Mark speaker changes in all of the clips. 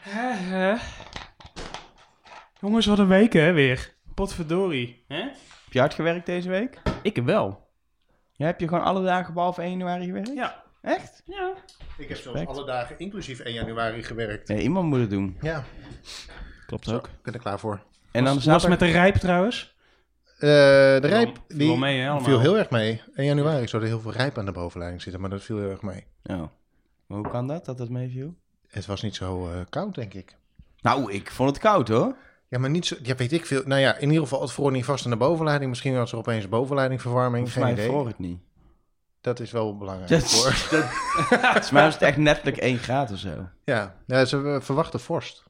Speaker 1: Hè, hè. Jongens, wat een week hè weer. Potverdorie. Hè?
Speaker 2: Heb je hard gewerkt deze week?
Speaker 1: Ik wel.
Speaker 2: Ja, heb je gewoon alle dagen behalve 1 januari gewerkt?
Speaker 1: Ja.
Speaker 2: Echt?
Speaker 1: Ja.
Speaker 3: Ik heb zelfs
Speaker 2: Respect.
Speaker 3: alle dagen, inclusief 1 januari, gewerkt.
Speaker 2: Nee, iemand moet het doen.
Speaker 3: Ja,
Speaker 2: Klopt ook.
Speaker 3: ik ben er klaar voor.
Speaker 2: En dan
Speaker 1: was, was
Speaker 2: zaterdag...
Speaker 1: met de rijp trouwens.
Speaker 3: Eh, de rijp
Speaker 1: Viel wel
Speaker 3: die
Speaker 1: mee, hè, allemaal.
Speaker 3: viel heel erg mee. 1 januari zou er heel veel rijp aan de bovenleiding zitten, maar dat viel heel erg mee.
Speaker 2: Oh. Maar hoe kan dat, dat dat meeviel?
Speaker 3: Het was niet zo eh, koud, denk ik.
Speaker 2: Nou, ik vond het koud hoor.
Speaker 3: Ja, maar niet zo... Ja, weet ik veel. Nou ja, in ieder geval, het vroor niet vast aan de bovenleiding. Misschien was er opeens bovenleidingverwarming.
Speaker 2: Volgens
Speaker 3: Geen
Speaker 2: mij
Speaker 3: idee.
Speaker 2: vroor het niet.
Speaker 3: Dat is wel belangrijk.
Speaker 2: Dat,
Speaker 3: hoor.
Speaker 2: dat, volgens mij was het echt letterlijk 1 graad of zo.
Speaker 3: Ja, ja ze eh, verwachten vorst.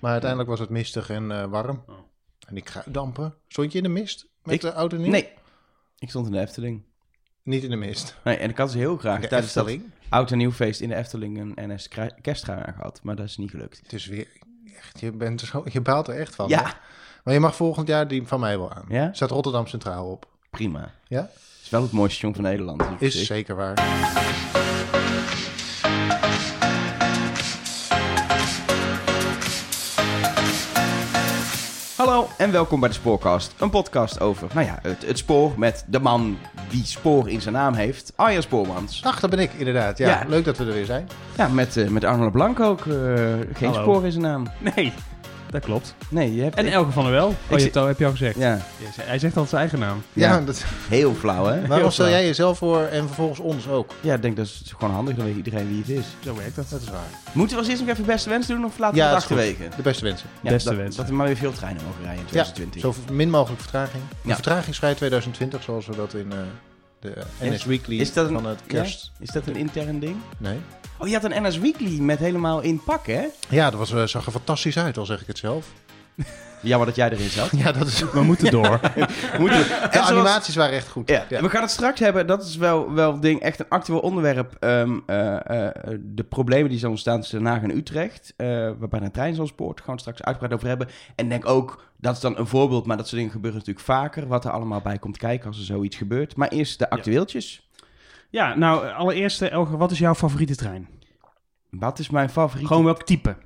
Speaker 3: Maar uiteindelijk was het mistig en eh, warm.
Speaker 1: Oh.
Speaker 3: En die kruiddampen. Stond je in de mist met
Speaker 2: Ik-
Speaker 3: de auto niet?
Speaker 2: Nee, ik stond in de Efteling.
Speaker 3: Niet in de mist.
Speaker 2: Nee, en ik had ze heel graag
Speaker 3: De
Speaker 2: tijdens dat
Speaker 3: Efteling.
Speaker 2: oud en nieuwfeest in de Efteling een NS kra- kersttrui aan gehad. Maar dat is niet gelukt.
Speaker 3: Het is weer... Echt, je, bent er zo, je baalt er echt van. hè?
Speaker 2: Ja,
Speaker 3: Maar je mag volgend jaar die van mij wel aan.
Speaker 2: Ja?
Speaker 3: Staat Rotterdam Centraal op.
Speaker 2: prima.
Speaker 3: Ja?
Speaker 2: is wel het mooiste jong van Nederland. dus op
Speaker 3: Is
Speaker 2: zich.
Speaker 3: zeker waar.
Speaker 2: Hallo en welkom bij de Spoorcast. Een podcast over, nou ja, het, het spoor met de man die spoor in zijn naam heeft. Arjen Spoormans.
Speaker 3: Ach, dat ben ik inderdaad. Ja,
Speaker 2: Ja.
Speaker 3: Leuk dat we er weer zijn.
Speaker 2: Ja, met, eh, met Arnold Blank ook. eh, geen
Speaker 1: Hallo.
Speaker 2: spoor in zijn naam.
Speaker 1: Nee, dat klopt.
Speaker 2: Nee, je hebt...
Speaker 1: En Elke van der Wel. Oh, je
Speaker 2: zie-
Speaker 1: hebt al, heb je al gezegd.
Speaker 2: ja,
Speaker 1: Je zei- Hij zegt altijd zijn eigen naam.
Speaker 2: Ja.
Speaker 3: Ja, dat,
Speaker 2: heel flauw hè?
Speaker 3: waarom stel
Speaker 1: flauw.
Speaker 3: jij jezelf voor en vervolgens ons ook?
Speaker 2: Ja, ik denk dat is gewoon handig, dan weet iedereen wie het is.
Speaker 3: Zo werkt dat. Dat is waar.
Speaker 2: Moeten we als eerst nog even beste wens doen of laten
Speaker 3: Ja,
Speaker 2: we het
Speaker 3: dat is goed.
Speaker 2: achterwege?
Speaker 3: De beste wensen.
Speaker 2: Ja,
Speaker 1: Beste
Speaker 2: dat,
Speaker 1: wens.
Speaker 2: Dat er maar weer veel treinen mogen rijden in
Speaker 3: Ja,
Speaker 2: 2020.
Speaker 3: zo min mogelijk vertraging. Een
Speaker 2: Ja.
Speaker 3: Vertragingsvrij 2020, zoals we dat in eh, de eh, NS
Speaker 2: Is-
Speaker 3: Weekly
Speaker 2: is dat een-
Speaker 3: van het kerst...
Speaker 2: Is dat een intern ding?
Speaker 3: Nee.
Speaker 2: Oh, je had een NS Weekly met helemaal in pak, hè?
Speaker 3: Ja, dat was, eh, zag er fantastisch uit, al zeg ik het zelf.
Speaker 2: Jammer dat jij erin zat.
Speaker 3: Ja, dat is...
Speaker 1: We moeten door.
Speaker 2: Moeten we...
Speaker 3: De
Speaker 2: en zoals-
Speaker 3: animaties waren echt goed.
Speaker 2: Ja,
Speaker 3: Ja.
Speaker 2: we gaan het straks hebben. Dat is wel, wel het ding, echt een actueel onderwerp. Ehm, eh, eh, eh, de problemen die zijn ontstaan tussen Den Haag en Utrecht. eh, waarbij een trein zal spoort. Gaan we straks uitgebreid over hebben. En denk ook, dat is dan een voorbeeld. Maar dat soort dingen gebeuren natuurlijk vaker. Wat er allemaal bij komt kijken als er zoiets gebeurt. Maar eerst de actueeltjes.
Speaker 1: ja, nou, eh, allereerst, eh, Elke, wat is jouw favoriete trein?
Speaker 2: Wat is mijn favoriet?
Speaker 1: Gewoon welk type?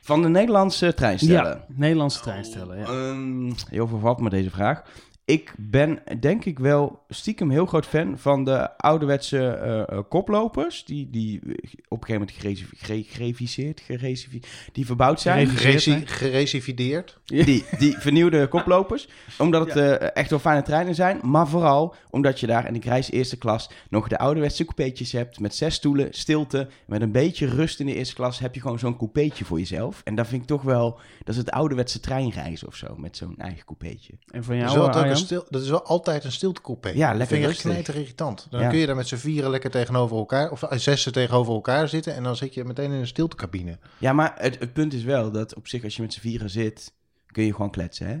Speaker 2: Van de Nederlandse treinstellen.
Speaker 1: Ja, Nederlandse treinstellen, ja.
Speaker 2: Ehm, heel vervat met deze vraag. Ik ben denk ik wel stiekem heel groot fan van de ouderwetse eh, eh, koplopers. Die, die eh, op een gegeven moment gerevi- gere- gereviseerd, gerevi- die verbouwd zijn.
Speaker 1: Gerevi-
Speaker 3: Geresi- Geresivideerd.
Speaker 2: Die, die vernieuwde koplopers. Omdat het eh, echt wel fijne treinen zijn. Maar vooral omdat je daar in de grijs eerste klas nog de ouderwetse coupeetjes hebt. Met zes stoelen, stilte. Met een beetje rust in de eerste klas heb je gewoon zo'n coupeetje voor jezelf. En dat vind ik toch wel... Dat is het ouderwetse treinreis of zo. Met zo'n eigen coupeetje.
Speaker 1: En van jou,
Speaker 3: Dat is, wel
Speaker 1: eh,
Speaker 3: ook een
Speaker 1: Arjan?
Speaker 3: stil, dat is wel altijd een stiltecoupé.
Speaker 2: Ja, lekker
Speaker 3: Dat vind ik echt
Speaker 2: rustig.
Speaker 3: knijter irritant. Dan
Speaker 2: Ja.
Speaker 3: kun je daar met z'n vieren lekker tegenover elkaar... of eh, zessen tegenover elkaar zitten... en dan zit je meteen in een stiltecabine.
Speaker 2: Ja, maar het, het punt is wel dat op zich als je met z'n vieren zit, kun je gewoon kletsen, hè?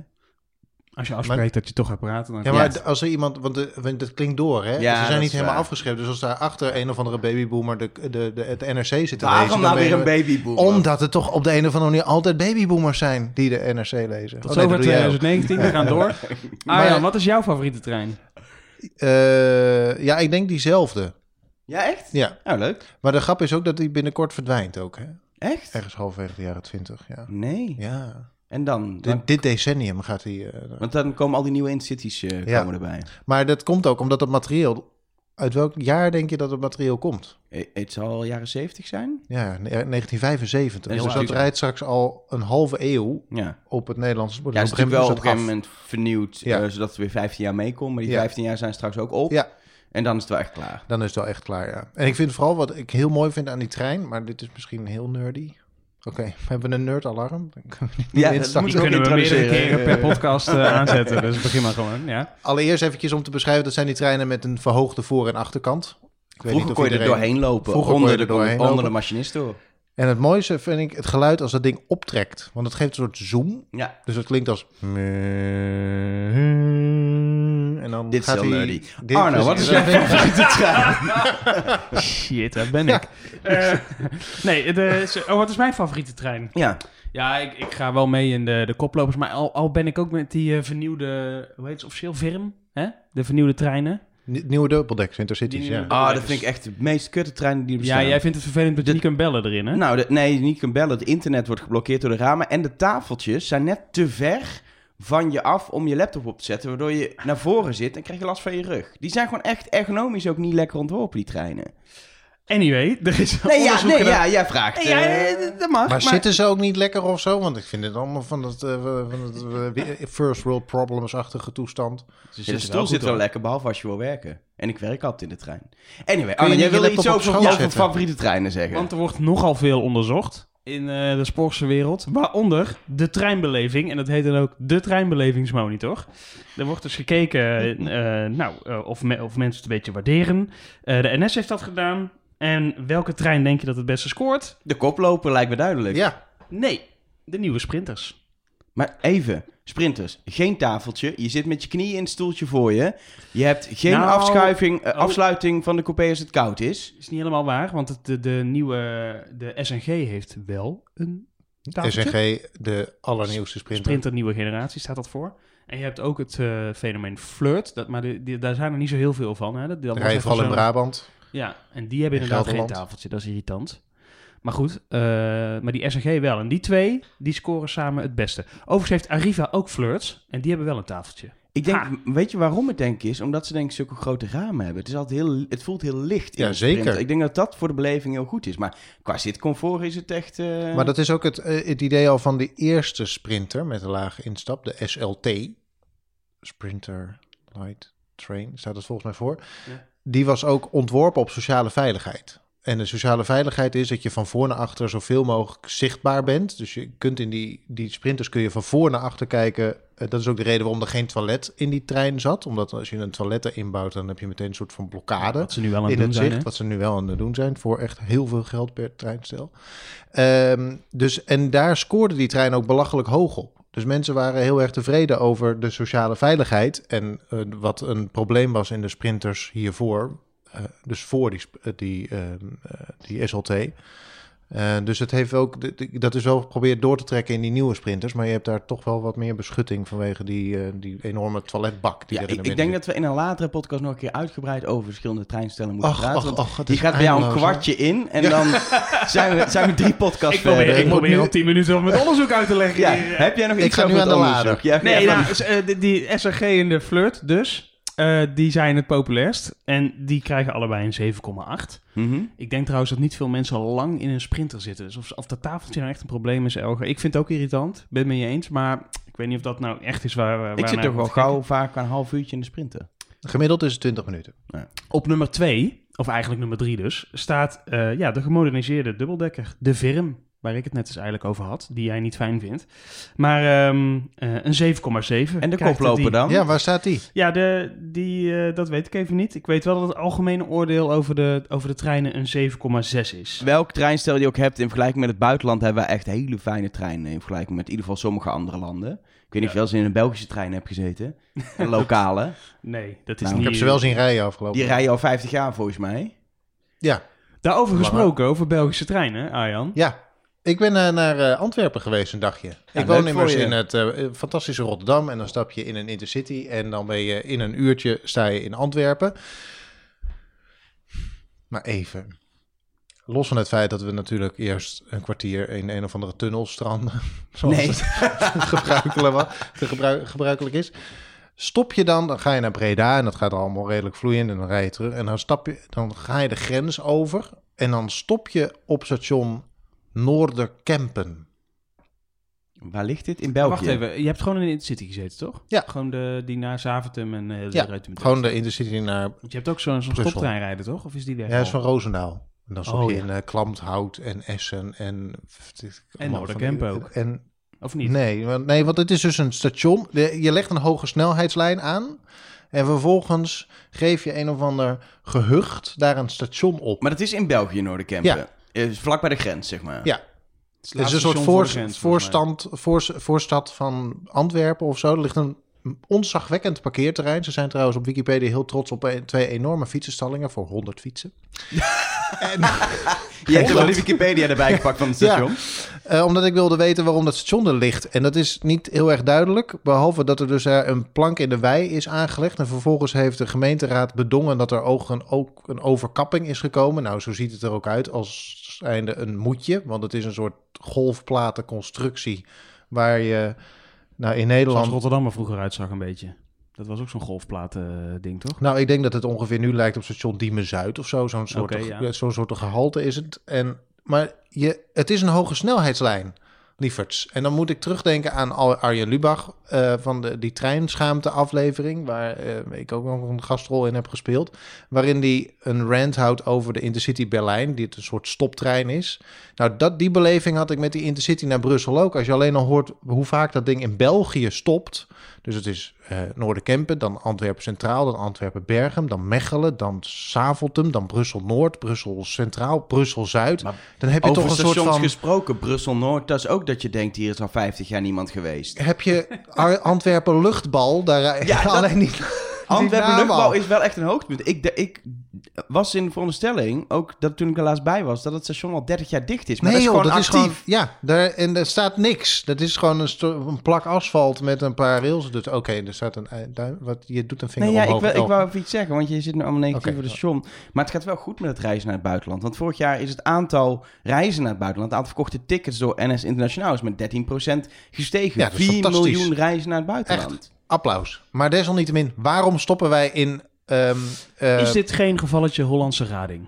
Speaker 1: Als je afspreekt dat je toch gaat praten, dan
Speaker 3: Ja, maar
Speaker 2: Ja.
Speaker 3: d- als er iemand... want de- want dat klinkt door, hè?
Speaker 2: Ja,
Speaker 3: ze
Speaker 2: dat
Speaker 3: zijn
Speaker 2: is
Speaker 3: niet helemaal
Speaker 2: waar.
Speaker 3: afgeschreven. Dus als daarachter een of andere babyboomer... De, de, de, het NRC zit te lezen...
Speaker 2: Waarom
Speaker 3: dan
Speaker 2: nou
Speaker 3: ben
Speaker 2: weer
Speaker 3: je-
Speaker 2: een babyboom?
Speaker 3: Omdat het toch op de een of andere manier altijd babyboomers zijn... die de NRC lezen.
Speaker 1: Tot
Speaker 3: Oh, nee,
Speaker 1: zover
Speaker 3: dat doe jij ook.
Speaker 1: 2019, we gaan door. Arjan,
Speaker 3: Maar-
Speaker 1: wat is jouw favoriete trein?
Speaker 3: Eh, ja, ik denk diezelfde.
Speaker 2: Ja, echt?
Speaker 3: Ja.
Speaker 2: Nou, leuk.
Speaker 3: Maar de grap is ook dat die binnenkort verdwijnt ook, hè?
Speaker 2: Echt?
Speaker 3: Ergens halverwege de jaren 20, ja.
Speaker 2: Nee.
Speaker 3: Ja.
Speaker 2: En dan? dan-
Speaker 3: Dit, dit decennium gaat hij. eh,
Speaker 2: want dan komen al die nieuwe Intercities eh
Speaker 3: Ja.
Speaker 2: komen erbij.
Speaker 3: maar dat komt ook omdat het materieel. Uit welk jaar denk je dat het materieel komt?
Speaker 2: E- Het zal jaren 70 zijn?
Speaker 3: Ja, ne- 1975.
Speaker 2: Dat is
Speaker 3: Dus dat
Speaker 2: natuurlijk-
Speaker 3: rijdt straks al een halve eeuw
Speaker 2: Ja.
Speaker 3: op het Nederlandse spoor.
Speaker 2: Ja, het
Speaker 3: Dus
Speaker 2: is natuurlijk wel op een gegeven
Speaker 3: is
Speaker 2: moment vernieuwd,
Speaker 3: Ja.
Speaker 2: eh, zodat het weer 15 jaar meekomt. Maar die
Speaker 3: Ja.
Speaker 2: 15 jaar zijn straks ook op.
Speaker 3: Ja.
Speaker 2: En dan is het wel echt klaar.
Speaker 3: af. Dan is het wel echt klaar, ja. En ik vind vooral wat ik heel mooi vind aan die trein, maar dit is misschien heel nerdy. Oké, we hebben een nerdalarm. Dan kunnen we die
Speaker 2: Ja, dat
Speaker 3: instappen.
Speaker 2: moet
Speaker 1: Die kunnen we meerdere
Speaker 2: introduceren,
Speaker 1: keren per podcast eh, aanzetten, dus begin maar gewoon, ja.
Speaker 3: Allereerst eventjes om te beschrijven, dat zijn die treinen met een verhoogde voor- en achterkant. Ik weet niet
Speaker 2: Vroeger
Speaker 3: of
Speaker 2: kon je er
Speaker 3: iedereen-
Speaker 2: doorheen lopen,
Speaker 3: Vroeger kon
Speaker 2: onder,
Speaker 3: je
Speaker 2: de,
Speaker 3: er doorheen
Speaker 2: onder
Speaker 3: lopen.
Speaker 2: de machinist door.
Speaker 3: En het mooiste vind ik het geluid als dat ding optrekt. Want het geeft een soort zoom.
Speaker 2: Ja,
Speaker 3: Dus het klinkt als... En dan
Speaker 2: dit is
Speaker 3: gaat
Speaker 2: heel
Speaker 3: hij-
Speaker 2: nerdy.
Speaker 3: dit-
Speaker 2: Arno, wat is jouw favoriete trein?
Speaker 1: Shit, daar ben ik. Eh, nee, de, oh, wat is mijn favoriete trein?
Speaker 2: Ja,
Speaker 1: Ja, ik, ik ga wel mee in de, de koplopers. Maar al, al ben ik ook met die eh, vernieuwde, hoe heet het, officieel VIRM? Hè? De vernieuwde treinen.
Speaker 3: Ni- Nieuwe dubbeldeks, Intercities,
Speaker 1: Die
Speaker 3: ja.
Speaker 1: nieuwe-
Speaker 2: Ah, dat vind ik echt de meest kutte treinen die er bestaan.
Speaker 1: Ja, jij vindt het vervelend met
Speaker 2: Dit-
Speaker 1: Nick en Bellen erin, hè?
Speaker 2: Nou, de, nee, niet kan bellen. Het internet wordt geblokkeerd door de ramen. En de tafeltjes zijn net te ver van je af om je laptop op te zetten. Waardoor je naar voren zit en krijg je last van je rug. Die zijn gewoon echt ergonomisch ook niet lekker ontworpen, die treinen.
Speaker 1: Anyway, er is
Speaker 2: Nee, ja,
Speaker 1: onderzoek
Speaker 2: nee
Speaker 1: gedaan.
Speaker 2: ja, jij vraagt.
Speaker 1: Nee, ja,
Speaker 2: eh,
Speaker 1: eh,
Speaker 2: dat mag.
Speaker 3: Maar, zitten ze ook niet lekker of zo? Want ik vind het allemaal van dat, eh, van dat eh, first world problems-achtige toestand.
Speaker 2: Ja, de stoel zit wel lekker, behalve als je wil werken. En ik werk altijd in de trein. Anyway,
Speaker 3: je
Speaker 2: Armin,
Speaker 3: niet
Speaker 2: jij
Speaker 3: je
Speaker 2: wilde
Speaker 3: laptop
Speaker 2: iets
Speaker 3: op
Speaker 2: over,
Speaker 3: schoot
Speaker 2: over
Speaker 3: zetten?
Speaker 2: favoriete treinen zeggen.
Speaker 1: Want er wordt nogal veel onderzocht in eh, de Sportse wereld. Waaronder de treinbeleving. En dat heet dan ook de treinbelevingsmonitor. Er wordt dus gekeken eh, nou, eh, of, me- of mensen het een beetje waarderen. Eh, de NS heeft dat gedaan. En welke trein denk je dat het beste scoort?
Speaker 2: De koploper lijkt me duidelijk.
Speaker 3: Ja,
Speaker 1: Nee, de nieuwe sprinters.
Speaker 2: Maar even, sprinters, geen tafeltje. Je zit met je knieën in het stoeltje voor je. Je hebt geen
Speaker 1: Nou,
Speaker 2: afschuiving, eh,
Speaker 1: oh.
Speaker 2: afsluiting van de coupé als het koud is.
Speaker 1: Is niet helemaal waar, want het, de, de nieuwe de SNG heeft wel een tafeltje.
Speaker 3: SNG, de allernieuwste sprinter.
Speaker 1: Sprinter nieuwe generatie staat dat voor. En je hebt ook het eh, fenomeen flirt, dat, maar de- die- daar zijn er niet zo heel veel van. Hè? Dat, dat
Speaker 3: Dan
Speaker 1: was
Speaker 3: rij je
Speaker 1: even
Speaker 3: vooral in
Speaker 1: zo'n-
Speaker 3: Brabant.
Speaker 1: Ja, en die hebben
Speaker 3: In
Speaker 1: inderdaad geen
Speaker 3: Gelderland.
Speaker 1: tafeltje. Dat is irritant. Maar goed, eh, maar die SNG wel. En die twee, die scoren samen het beste. Overigens heeft Arriva ook flirts. En die hebben wel een tafeltje.
Speaker 2: Ik denk,
Speaker 1: Ha.
Speaker 2: weet je waarom het denk ik is? Omdat ze denk ik zulke grote ramen hebben. Het, is altijd heel, het voelt heel licht in
Speaker 3: Ja,
Speaker 2: de
Speaker 3: zeker.
Speaker 2: sprinter. Ik denk dat dat voor de beleving heel goed is. Maar qua zitcomfort is het echt... eh,
Speaker 3: Maar dat is ook het, eh, het idee al van de eerste sprinter met een lage instap, de SLT. Sprinter Light Train staat het volgens mij voor.
Speaker 1: Ja.
Speaker 3: Die was ook ontworpen op sociale veiligheid. En de sociale veiligheid is dat je van voor naar achter zoveel mogelijk zichtbaar bent. Dus je kunt in die, die sprinters kun je van voor naar achter kijken. Eh, dat is ook de reden waarom er geen toilet in die trein zat. Omdat als je een toilet erin bouwt, dan heb je meteen een soort van blokkade
Speaker 1: Wat ze nu wel aan het
Speaker 3: in
Speaker 1: doen
Speaker 3: het
Speaker 1: zijn.
Speaker 3: zicht,
Speaker 1: hè?
Speaker 3: wat ze nu wel aan het doen zijn voor echt heel veel geld per treinstel. Ehm, dus, en daar scoorde die trein ook belachelijk hoog op. Dus mensen waren heel erg tevreden over de sociale veiligheid en eh, wat een probleem was in de sprinters hiervoor, eh, dus voor die, sp- eh, die, ehm, eh, die SLT. Eh, dus het heeft ook, de- de- dat is wel geprobeerd door te trekken in die nieuwe sprinters, maar je hebt daar toch wel wat meer beschutting vanwege die, eh, die enorme toiletbak die
Speaker 2: ja,
Speaker 3: er in
Speaker 2: ik,
Speaker 3: de
Speaker 2: ik
Speaker 3: midden
Speaker 2: denk
Speaker 3: zit.
Speaker 2: dat we in een latere podcast nog een keer uitgebreid over verschillende treinstellen moeten
Speaker 3: Ach,
Speaker 2: praten.
Speaker 3: ach,
Speaker 2: want
Speaker 3: ach, het
Speaker 2: die
Speaker 3: is
Speaker 2: gaat bij jou een
Speaker 3: eindeloos, hè?
Speaker 2: kwartje in en dan zijn we, zijn we drie podcasts
Speaker 1: Ik probeer,
Speaker 2: verder.
Speaker 1: ik
Speaker 3: moet
Speaker 1: probeer
Speaker 3: nu-
Speaker 1: al tien minuten om het onderzoek uit te leggen.
Speaker 2: Ja,
Speaker 1: hier, hè?
Speaker 2: heb jij nog
Speaker 3: Ik
Speaker 2: iets
Speaker 3: ga nu
Speaker 2: over
Speaker 3: aan
Speaker 2: het
Speaker 3: de
Speaker 2: onderzoek?
Speaker 3: lader.
Speaker 2: Ja,
Speaker 1: Nee,
Speaker 2: ja,
Speaker 1: nou,
Speaker 2: maar-
Speaker 1: s- eh, die- die SRG en de flirt dus, eh, die zijn het populairst. En die krijgen allebei een 7,8.
Speaker 2: Mhm.
Speaker 1: Ik denk trouwens dat niet veel mensen al lang in een sprinter zitten. Dus of, of dat tafeltje nou echt een probleem is, Elger. Ik vind het ook irritant, ben het mee eens. Maar ik weet niet of dat nou echt is waar... waar
Speaker 2: Ik zit
Speaker 1: waarnaar
Speaker 2: toch wel
Speaker 1: we kijken.
Speaker 2: gauw vaak een half uurtje in de sprinten.
Speaker 3: Gemiddeld is het 20 minuten.
Speaker 1: Op nummer 2, of eigenlijk nummer 3 dus, staat eh, ja, de gemoderniseerde dubbeldekker. De Virm, waar ik het net eens eigenlijk over had. Die jij niet fijn vindt. Maar ehm, eh, een 7,7.
Speaker 2: En de
Speaker 1: krijgt die.
Speaker 2: koploper dan?
Speaker 3: Ja, waar staat die?
Speaker 1: Ja, de, die, eh, dat weet ik even niet. Ik weet wel dat het algemene oordeel over de, over de treinen een 7,6 is.
Speaker 2: Welk treinstel je ook hebt, in vergelijking met het buitenland hebben wij echt hele fijne treinen. In vergelijking met in ieder geval sommige andere landen. Ik weet niet of je wel eens in een Belgische trein hebt gezeten. Een lokale.
Speaker 1: Nee, dat is
Speaker 2: Nou,
Speaker 1: niet...
Speaker 3: Ik heb ze wel zien rijden afgelopen.
Speaker 2: Die rijden al 50 jaar volgens mij.
Speaker 3: Ja,
Speaker 1: Daarover
Speaker 3: Lange.
Speaker 1: gesproken, over Belgische treinen, Arjan.
Speaker 3: ja. Ik ben eh, naar eh, Antwerpen geweest een dagje. ik
Speaker 2: leuk
Speaker 3: woon immers
Speaker 2: voor je.
Speaker 3: in het eh, fantastische Rotterdam. En dan stap je in een intercity. En dan ben je in een uurtje sta je in Antwerpen. Maar even. Los van het feit dat we natuurlijk eerst een kwartier in een of andere tunnel stranden. Zoals
Speaker 2: Nee.
Speaker 3: het gebruikelijk, wa- te gebruik- gebruikelijk is. Stop je dan, dan ga je naar Breda en dat gaat allemaal redelijk vloeiend en dan rij je terug. En dan, stap je, dan ga je de grens over en dan stop je op station Noorderkempen.
Speaker 2: Waar ligt dit? In België.
Speaker 1: Wacht even, je hebt gewoon in de Intercity gezeten, toch?
Speaker 3: Ja.
Speaker 1: Gewoon de, die naar Zaventem en eh de
Speaker 3: Ja,
Speaker 1: Reutemeer.
Speaker 3: Gewoon de intercity naar,
Speaker 1: Want je hebt ook zo'n zo'n
Speaker 3: Brussel.
Speaker 1: stoptrein rijden, toch? Of is die weg?
Speaker 3: ja,
Speaker 1: al?
Speaker 3: is van Roosendaal. En dan stop
Speaker 1: Oh,
Speaker 3: je
Speaker 1: ja.
Speaker 3: in eh, Klampthout en Essen en... allemaal van
Speaker 1: Noorderkempen
Speaker 3: die-
Speaker 1: ook.
Speaker 3: En
Speaker 1: Of niet?
Speaker 3: Nee, want, nee, want het is dus een station. De- Je legt een hoge snelheidslijn aan. En vervolgens geef je een of ander gehucht daar een station op.
Speaker 2: Maar dat is in België, Noorderkempen. Eh, Vlak bij de grens, zeg maar.
Speaker 3: Ja.
Speaker 1: Het
Speaker 3: Het is
Speaker 1: laatste
Speaker 3: een soort
Speaker 1: station voor
Speaker 3: voor,
Speaker 1: de grens, volgens mij.
Speaker 3: voorstand, voor, voorstad van Antwerpen of zo. Er ligt een onzagwekkend parkeerterrein. Ze zijn trouwens op Wikipedia heel trots op een- twee enorme fietsenstallingen voor 100 fietsen. en,
Speaker 2: Je hebt wel de Wikipedia erbij gepakt van het station.
Speaker 3: eh, omdat ik wilde weten waarom dat station er ligt. En dat is niet heel erg duidelijk. Behalve dat er dus eh, een plank in de wei is aangelegd. En vervolgens heeft de gemeenteraad bedongen dat er ook een, ook een overkapping is gekomen. Nou, zo ziet het er ook uit als zijnde een moetje. Want het is een soort golfplatenconstructie waar je... Nou, in
Speaker 1: Zoals
Speaker 3: Nederland
Speaker 1: Rotterdam er vroeger uitzag een beetje. Dat was ook zo'n golfplaten ding, toch?
Speaker 3: Nou, ik denk dat het ongeveer nu lijkt op station Diemen Zuid of zo. Zo'n soort,
Speaker 1: Oké, ja.
Speaker 3: zo'n soort gehalte is het. En, maar je, het is een hoge snelheidslijn, lieverds. En dan moet ik terugdenken aan Al- Arjen Lubach eh, van de, die treinschaamte-aflevering, waar eh, ik ook nog een gastrol in heb gespeeld. Waarin hij een rant houdt over de Intercity Berlijn, die het een soort stoptrein is. Nou, dat, die beleving had ik met die Intercity naar Brussel ook. Als je alleen al hoort hoe vaak dat ding in België stopt. Dus het is eh Noorderkempen, dan Antwerpen Centraal, dan Antwerpen-Bergen, dan Mechelen, dan Saveltum, dan Brussel-Noord, Brussel-Centraal, Brussel-Zuid.
Speaker 2: Maar
Speaker 3: Dan heb je
Speaker 2: Over
Speaker 3: toch een soort
Speaker 2: stations
Speaker 3: van...
Speaker 2: gesproken, Brussel-Noord, dat is ook dat je denkt, hier is al 50 jaar niemand geweest.
Speaker 3: Heb je Ar- Antwerpen-Luchtbal, daar rij-
Speaker 2: Ja, dat-
Speaker 3: alleen niet...
Speaker 2: Antwerpen
Speaker 3: naam
Speaker 2: luchtbouw
Speaker 3: al.
Speaker 2: is wel echt een hoogtepunt. Ik, de- ik was in de veronderstelling, ook dat toen ik er laatst bij was, dat het station al 30 jaar dicht is. Maar
Speaker 3: Nee
Speaker 2: dat is
Speaker 3: joh, dat
Speaker 2: gewoon
Speaker 3: is
Speaker 2: actief.
Speaker 3: gewoon... Ja, daar, en er staat niks. Dat is gewoon een, sto- een plak asfalt met een paar rails. Dus oké, er staat een... eh, duim- Wat, je doet een vinger
Speaker 2: Nee, ja, ik,
Speaker 3: omhoog.
Speaker 2: wil, ik
Speaker 3: Oh.
Speaker 2: wou even iets zeggen, want je zit nu allemaal negatief
Speaker 3: Oké.
Speaker 2: over de station. Maar het gaat wel goed met het reizen naar het buitenland. Want vorig jaar is het aantal reizen naar het buitenland, het aantal verkochte tickets door NS Internationaal is met 13% gestegen.
Speaker 3: Ja, dat is
Speaker 2: 4
Speaker 3: fantastisch.
Speaker 2: miljoen reizen naar het buitenland.
Speaker 3: Applaus. Maar desalniettemin, waarom stoppen wij in... ehm, eh,
Speaker 1: is dit geen gevalletje Hollandse Rading?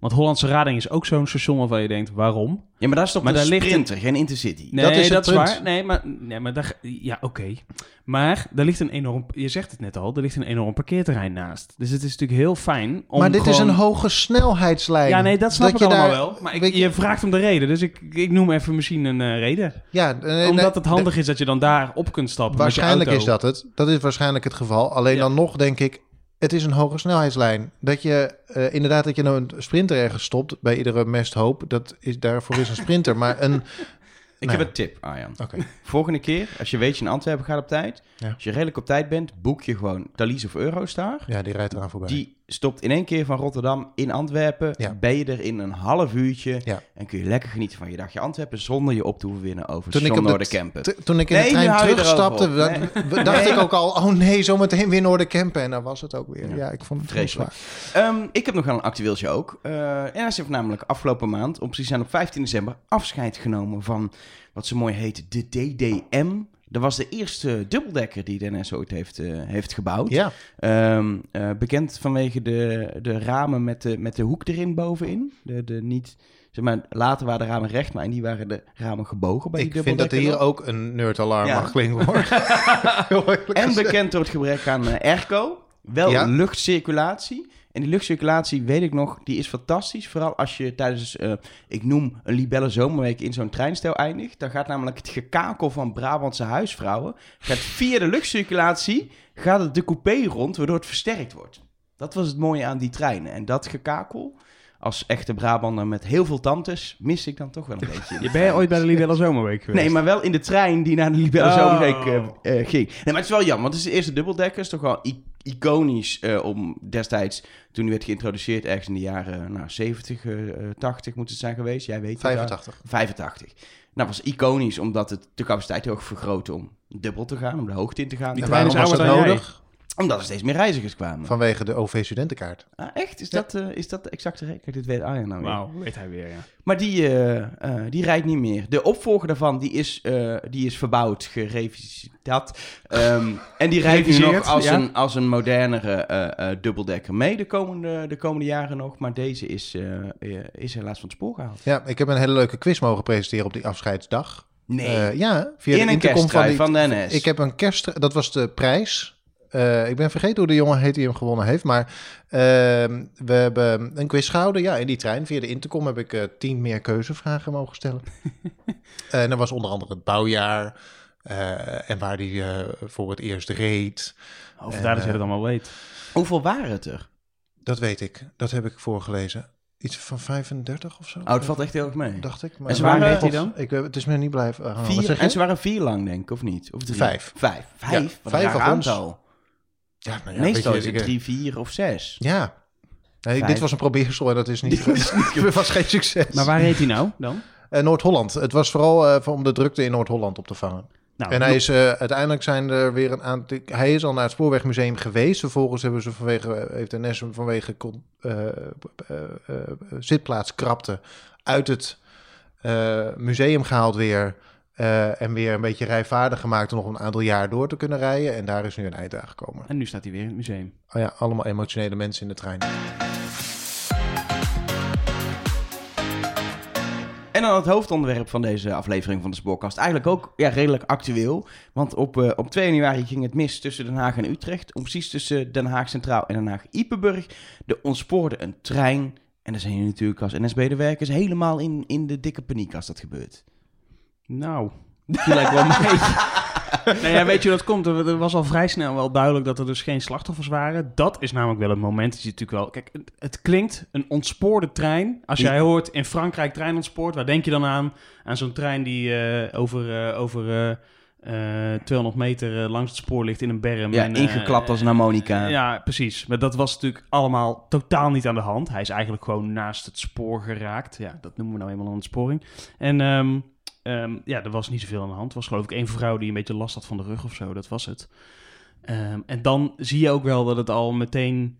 Speaker 1: Want Hollandse Rading is ook zo'n station waarvan je denkt, waarom?
Speaker 2: Ja, maar daar stopt
Speaker 1: Maar
Speaker 2: een
Speaker 1: daar ligt
Speaker 2: sprinter, geen intercity.
Speaker 1: Nee,
Speaker 3: Dat is het punt.
Speaker 1: waar. Nee, maar, nee, maar daar, ja, oké. Maar daar ligt een enorm, je zegt het net al, er ligt een enorm parkeerterrein naast. Dus het is natuurlijk heel fijn om
Speaker 3: maar dit is
Speaker 1: gewoon-
Speaker 3: een hoge snelheidslijn.
Speaker 1: Ja, nee, dat snap ik
Speaker 3: je
Speaker 1: allemaal
Speaker 3: daar-
Speaker 1: wel. Maar ik,
Speaker 3: weet
Speaker 1: je vraagt om de reden, dus ik, ik noem even misschien een eh, reden.
Speaker 3: Ja, nee, nee,
Speaker 1: Omdat
Speaker 3: nee,
Speaker 1: het handig is dat je dan daar op kunt stappen
Speaker 3: Waarschijnlijk
Speaker 1: met
Speaker 3: is
Speaker 1: je auto.
Speaker 3: dat het. Dat is waarschijnlijk het geval. Alleen
Speaker 1: Ja.
Speaker 3: dan nog denk ik, het is een hoge snelheidslijn. Dat je eh, inderdaad dat je nou een sprinter ergens stopt bij iedere mesthoop, dat is daarvoor is een sprinter. maar een.
Speaker 2: Ik
Speaker 3: Nou
Speaker 2: heb
Speaker 3: ja.
Speaker 2: een tip, Arjan.
Speaker 3: Oké.
Speaker 2: Volgende keer, als je weet je in Antwerpen gaat op tijd,
Speaker 3: Ja.
Speaker 2: als je redelijk op tijd bent, boek je gewoon Thalys of Eurostar.
Speaker 3: Ja, die rijdt eraan voorbij.
Speaker 2: Die stopt in één keer van Rotterdam in Antwerpen.
Speaker 3: Ja.
Speaker 2: Ben je er in een half uurtje.
Speaker 3: Ja.
Speaker 2: En kun je lekker genieten van je dagje Antwerpen zonder je op te hoeven winnen over
Speaker 3: Toen ik
Speaker 2: station
Speaker 3: op de
Speaker 2: Noorderkempen.
Speaker 3: T- Toen ik in
Speaker 2: Nee,
Speaker 3: de
Speaker 2: nu
Speaker 3: trein
Speaker 2: hou je
Speaker 3: terugstapte,
Speaker 2: erover op.
Speaker 3: we- we- dacht ik ook al, oh nee, zometeen weer Noorderkempen. En daar was het ook weer.
Speaker 2: Ja.
Speaker 3: Ja, ik vond het heel
Speaker 2: Vreselijk.
Speaker 3: zwaar.
Speaker 2: Ehm, ik heb nog wel een actueeltje ook. Eh NS heeft namelijk afgelopen maand, om precies te zijn op 15 december, afscheid genomen van wat ze mooi heet de DDM. Dat was de eerste dubbeldekker die de NS ooit heeft, eh, heeft gebouwd.
Speaker 3: Ja,
Speaker 2: Ehm, eh, bekend vanwege de, de ramen met de, met de hoek erin bovenin. De, de niet, zeg maar, later waren de ramen recht, maar in die waren de ramen gebogen bij die
Speaker 3: ik vind dat er hier
Speaker 2: dubbeldekker.
Speaker 3: ook een nerdalarm
Speaker 2: Ja.
Speaker 3: mag klinken hoor. Heel eerlijk
Speaker 2: En
Speaker 3: gezegd.
Speaker 2: bekend door het gebrek aan eh, airco. Wel
Speaker 3: Ja.
Speaker 2: luchtcirculatie. En die luchtcirculatie, weet ik nog, die is fantastisch. Vooral als je tijdens, eh, ik noem een libelle zomerweek in zo'n treinstel eindigt. Dan gaat namelijk het gekakel van Brabantse huisvrouwen... gaat via de luchtcirculatie gaat het de coupé rond, waardoor het versterkt wordt. Dat was het mooie aan die treinen. En dat gekakel, als echte Brabander met heel veel tantes... mis ik dan toch wel een beetje. in de
Speaker 1: Je bent
Speaker 2: trein.
Speaker 1: ooit bij de Libelle Zomerweek geweest?
Speaker 2: Nee, maar wel in de trein die naar de Libelle
Speaker 1: Oh.
Speaker 2: Zomerweek eh, eh, ging. Nee, maar het is wel jammer, want het is de eerste dubbeldekker. Het is toch wel i- iconisch eh, om destijds, toen die werd geïntroduceerd, ergens in de jaren nou, 70, eh, eh, 80 moet het zijn geweest. Jij weet het, eh,
Speaker 3: 85.
Speaker 2: 85. Nou, was iconisch omdat het de capaciteit heel erg vergrootte om dubbel te gaan, om de hoogte in te gaan.
Speaker 1: Die
Speaker 3: En
Speaker 2: En
Speaker 1: trein
Speaker 3: waarom
Speaker 1: is
Speaker 3: was dat
Speaker 1: ouder dan jij.
Speaker 3: nodig?
Speaker 2: Omdat er steeds meer reizigers kwamen.
Speaker 3: Vanwege de OV-studentenkaart.
Speaker 2: Ah, echt? Is,
Speaker 3: Ja.
Speaker 2: dat, eh, is dat de exacte reden? Kijk, dit weet Arjen nou weer.
Speaker 1: Wauw, weet hij weer, ja.
Speaker 2: Maar die, eh, eh, die rijdt niet meer. De opvolger daarvan die is, eh, die is verbouwd, gereviseerd. Ehm, en die rijdt nu nog
Speaker 1: Gereviseerd,
Speaker 2: als,
Speaker 1: ja.
Speaker 2: een, als een modernere eh, eh, dubbeldekker mee de komende, de komende jaren nog. Maar deze is, eh, eh, is helaas van het spoor gehaald.
Speaker 3: Ja, ik heb een hele leuke quiz mogen presenteren op die afscheidsdag.
Speaker 2: Nee,
Speaker 3: Eh, ja, via
Speaker 2: in
Speaker 3: de
Speaker 2: een
Speaker 3: intercom van,
Speaker 2: kersttrui
Speaker 3: die,
Speaker 2: van, de NS.
Speaker 3: Ik heb een kerst... Dat was de prijs. Eh, ik ben vergeten hoe de jongen heet die hem gewonnen heeft. Maar ehm, we hebben een quiz gehouden. Ja, in die trein. Via de intercom heb ik eh, tien meer keuzevragen mogen stellen. Eh, en dat was onder andere het bouwjaar. eh, en waar die eh, voor het eerst reed.
Speaker 1: Of daar dat
Speaker 3: eh,
Speaker 1: je het allemaal weet.
Speaker 2: Hoeveel waren het er?
Speaker 3: Dat weet ik. Dat heb ik voorgelezen. iets van 35 of zo.
Speaker 2: Oh, het valt echt heel erg mee.
Speaker 3: Dacht ik. Maar
Speaker 2: En ze
Speaker 3: maar-
Speaker 2: waren-
Speaker 3: God,
Speaker 2: heet die dan?
Speaker 3: Ik, weet- het is me niet blijven hangen. oh, Wat
Speaker 2: Vier,
Speaker 3: zeg
Speaker 2: en
Speaker 3: je?
Speaker 2: ze waren vier lang, denk ik, of niet? Of drie?
Speaker 3: Vijf.
Speaker 2: Vijf. Vijf? Wat een
Speaker 3: vijf
Speaker 2: raar
Speaker 3: wagons.
Speaker 2: aantal.
Speaker 3: Ja, nou ja,
Speaker 2: Meestal
Speaker 3: weet
Speaker 2: is
Speaker 3: je,
Speaker 2: het
Speaker 3: ik-
Speaker 2: drie, vier of zes.
Speaker 3: Ja. Nee,
Speaker 2: Vijf.
Speaker 3: dit was een probeersel en dat is niet... Het was geen succes.
Speaker 1: Maar waar heet hij nou dan?
Speaker 3: Eh, Noord-Holland. Het was vooral eh, om de drukte in Noord-Holland op te vangen.
Speaker 1: Nou,
Speaker 3: en hij is, eh, uiteindelijk zijn er weer een aantal... Hij is al naar het Spoorwegmuseum geweest. Vervolgens hebben ze vanwege, heeft de NS hem vanwege con- eh, eh, eh, zitplaatskrapte uit het eh, museum gehaald weer. eh, en weer een beetje rijvaardig gemaakt om nog een aantal jaar door te kunnen rijden. En daar is nu een eind aan gekomen.
Speaker 1: En nu staat hij weer in het museum.
Speaker 3: Oh ja, allemaal emotionele mensen in de trein.
Speaker 2: En dan het hoofdonderwerp van deze aflevering van de Spoorkast. Eigenlijk ook ja, redelijk actueel. Want op, eh, op 2 januari ging het mis tussen Den Haag en Utrecht. Om precies tussen Den Haag Centraal en Den Haag Iepenburg. Er ontspoorde een trein. En daar zijn jullie natuurlijk als NSB-werkers helemaal in, in de dikke paniek als dat gebeurt.
Speaker 1: Nou.
Speaker 2: Die lijkt wel mee.
Speaker 1: Nou ja, weet je hoe dat komt? Er er was al vrij snel wel duidelijk dat er dus geen slachtoffers waren. Dat is namelijk wel het moment. dat Je natuurlijk wel... Kijk, het, het klinkt een ontspoorde trein. Als jij hoort in Frankrijk trein ontspoort, waar denk je dan aan? Aan zo'n trein die eh, over, eh, over eh, eh, 200 meter eh, langs het spoor ligt in een berm.
Speaker 2: Ja,
Speaker 1: en, eh,
Speaker 2: ingeklapt als een harmonica.
Speaker 1: Ja, precies. Maar dat was natuurlijk allemaal totaal niet aan de hand. Hij is eigenlijk gewoon naast het spoor geraakt. Ja, dat noemen we nou eenmaal een ontsporing. En ehm, ehm, ja, er was niet zoveel aan de hand. Er was geloof ik één vrouw die een beetje last had van de rug of zo. Dat was het. Ehm, en dan zie je ook wel dat het al meteen,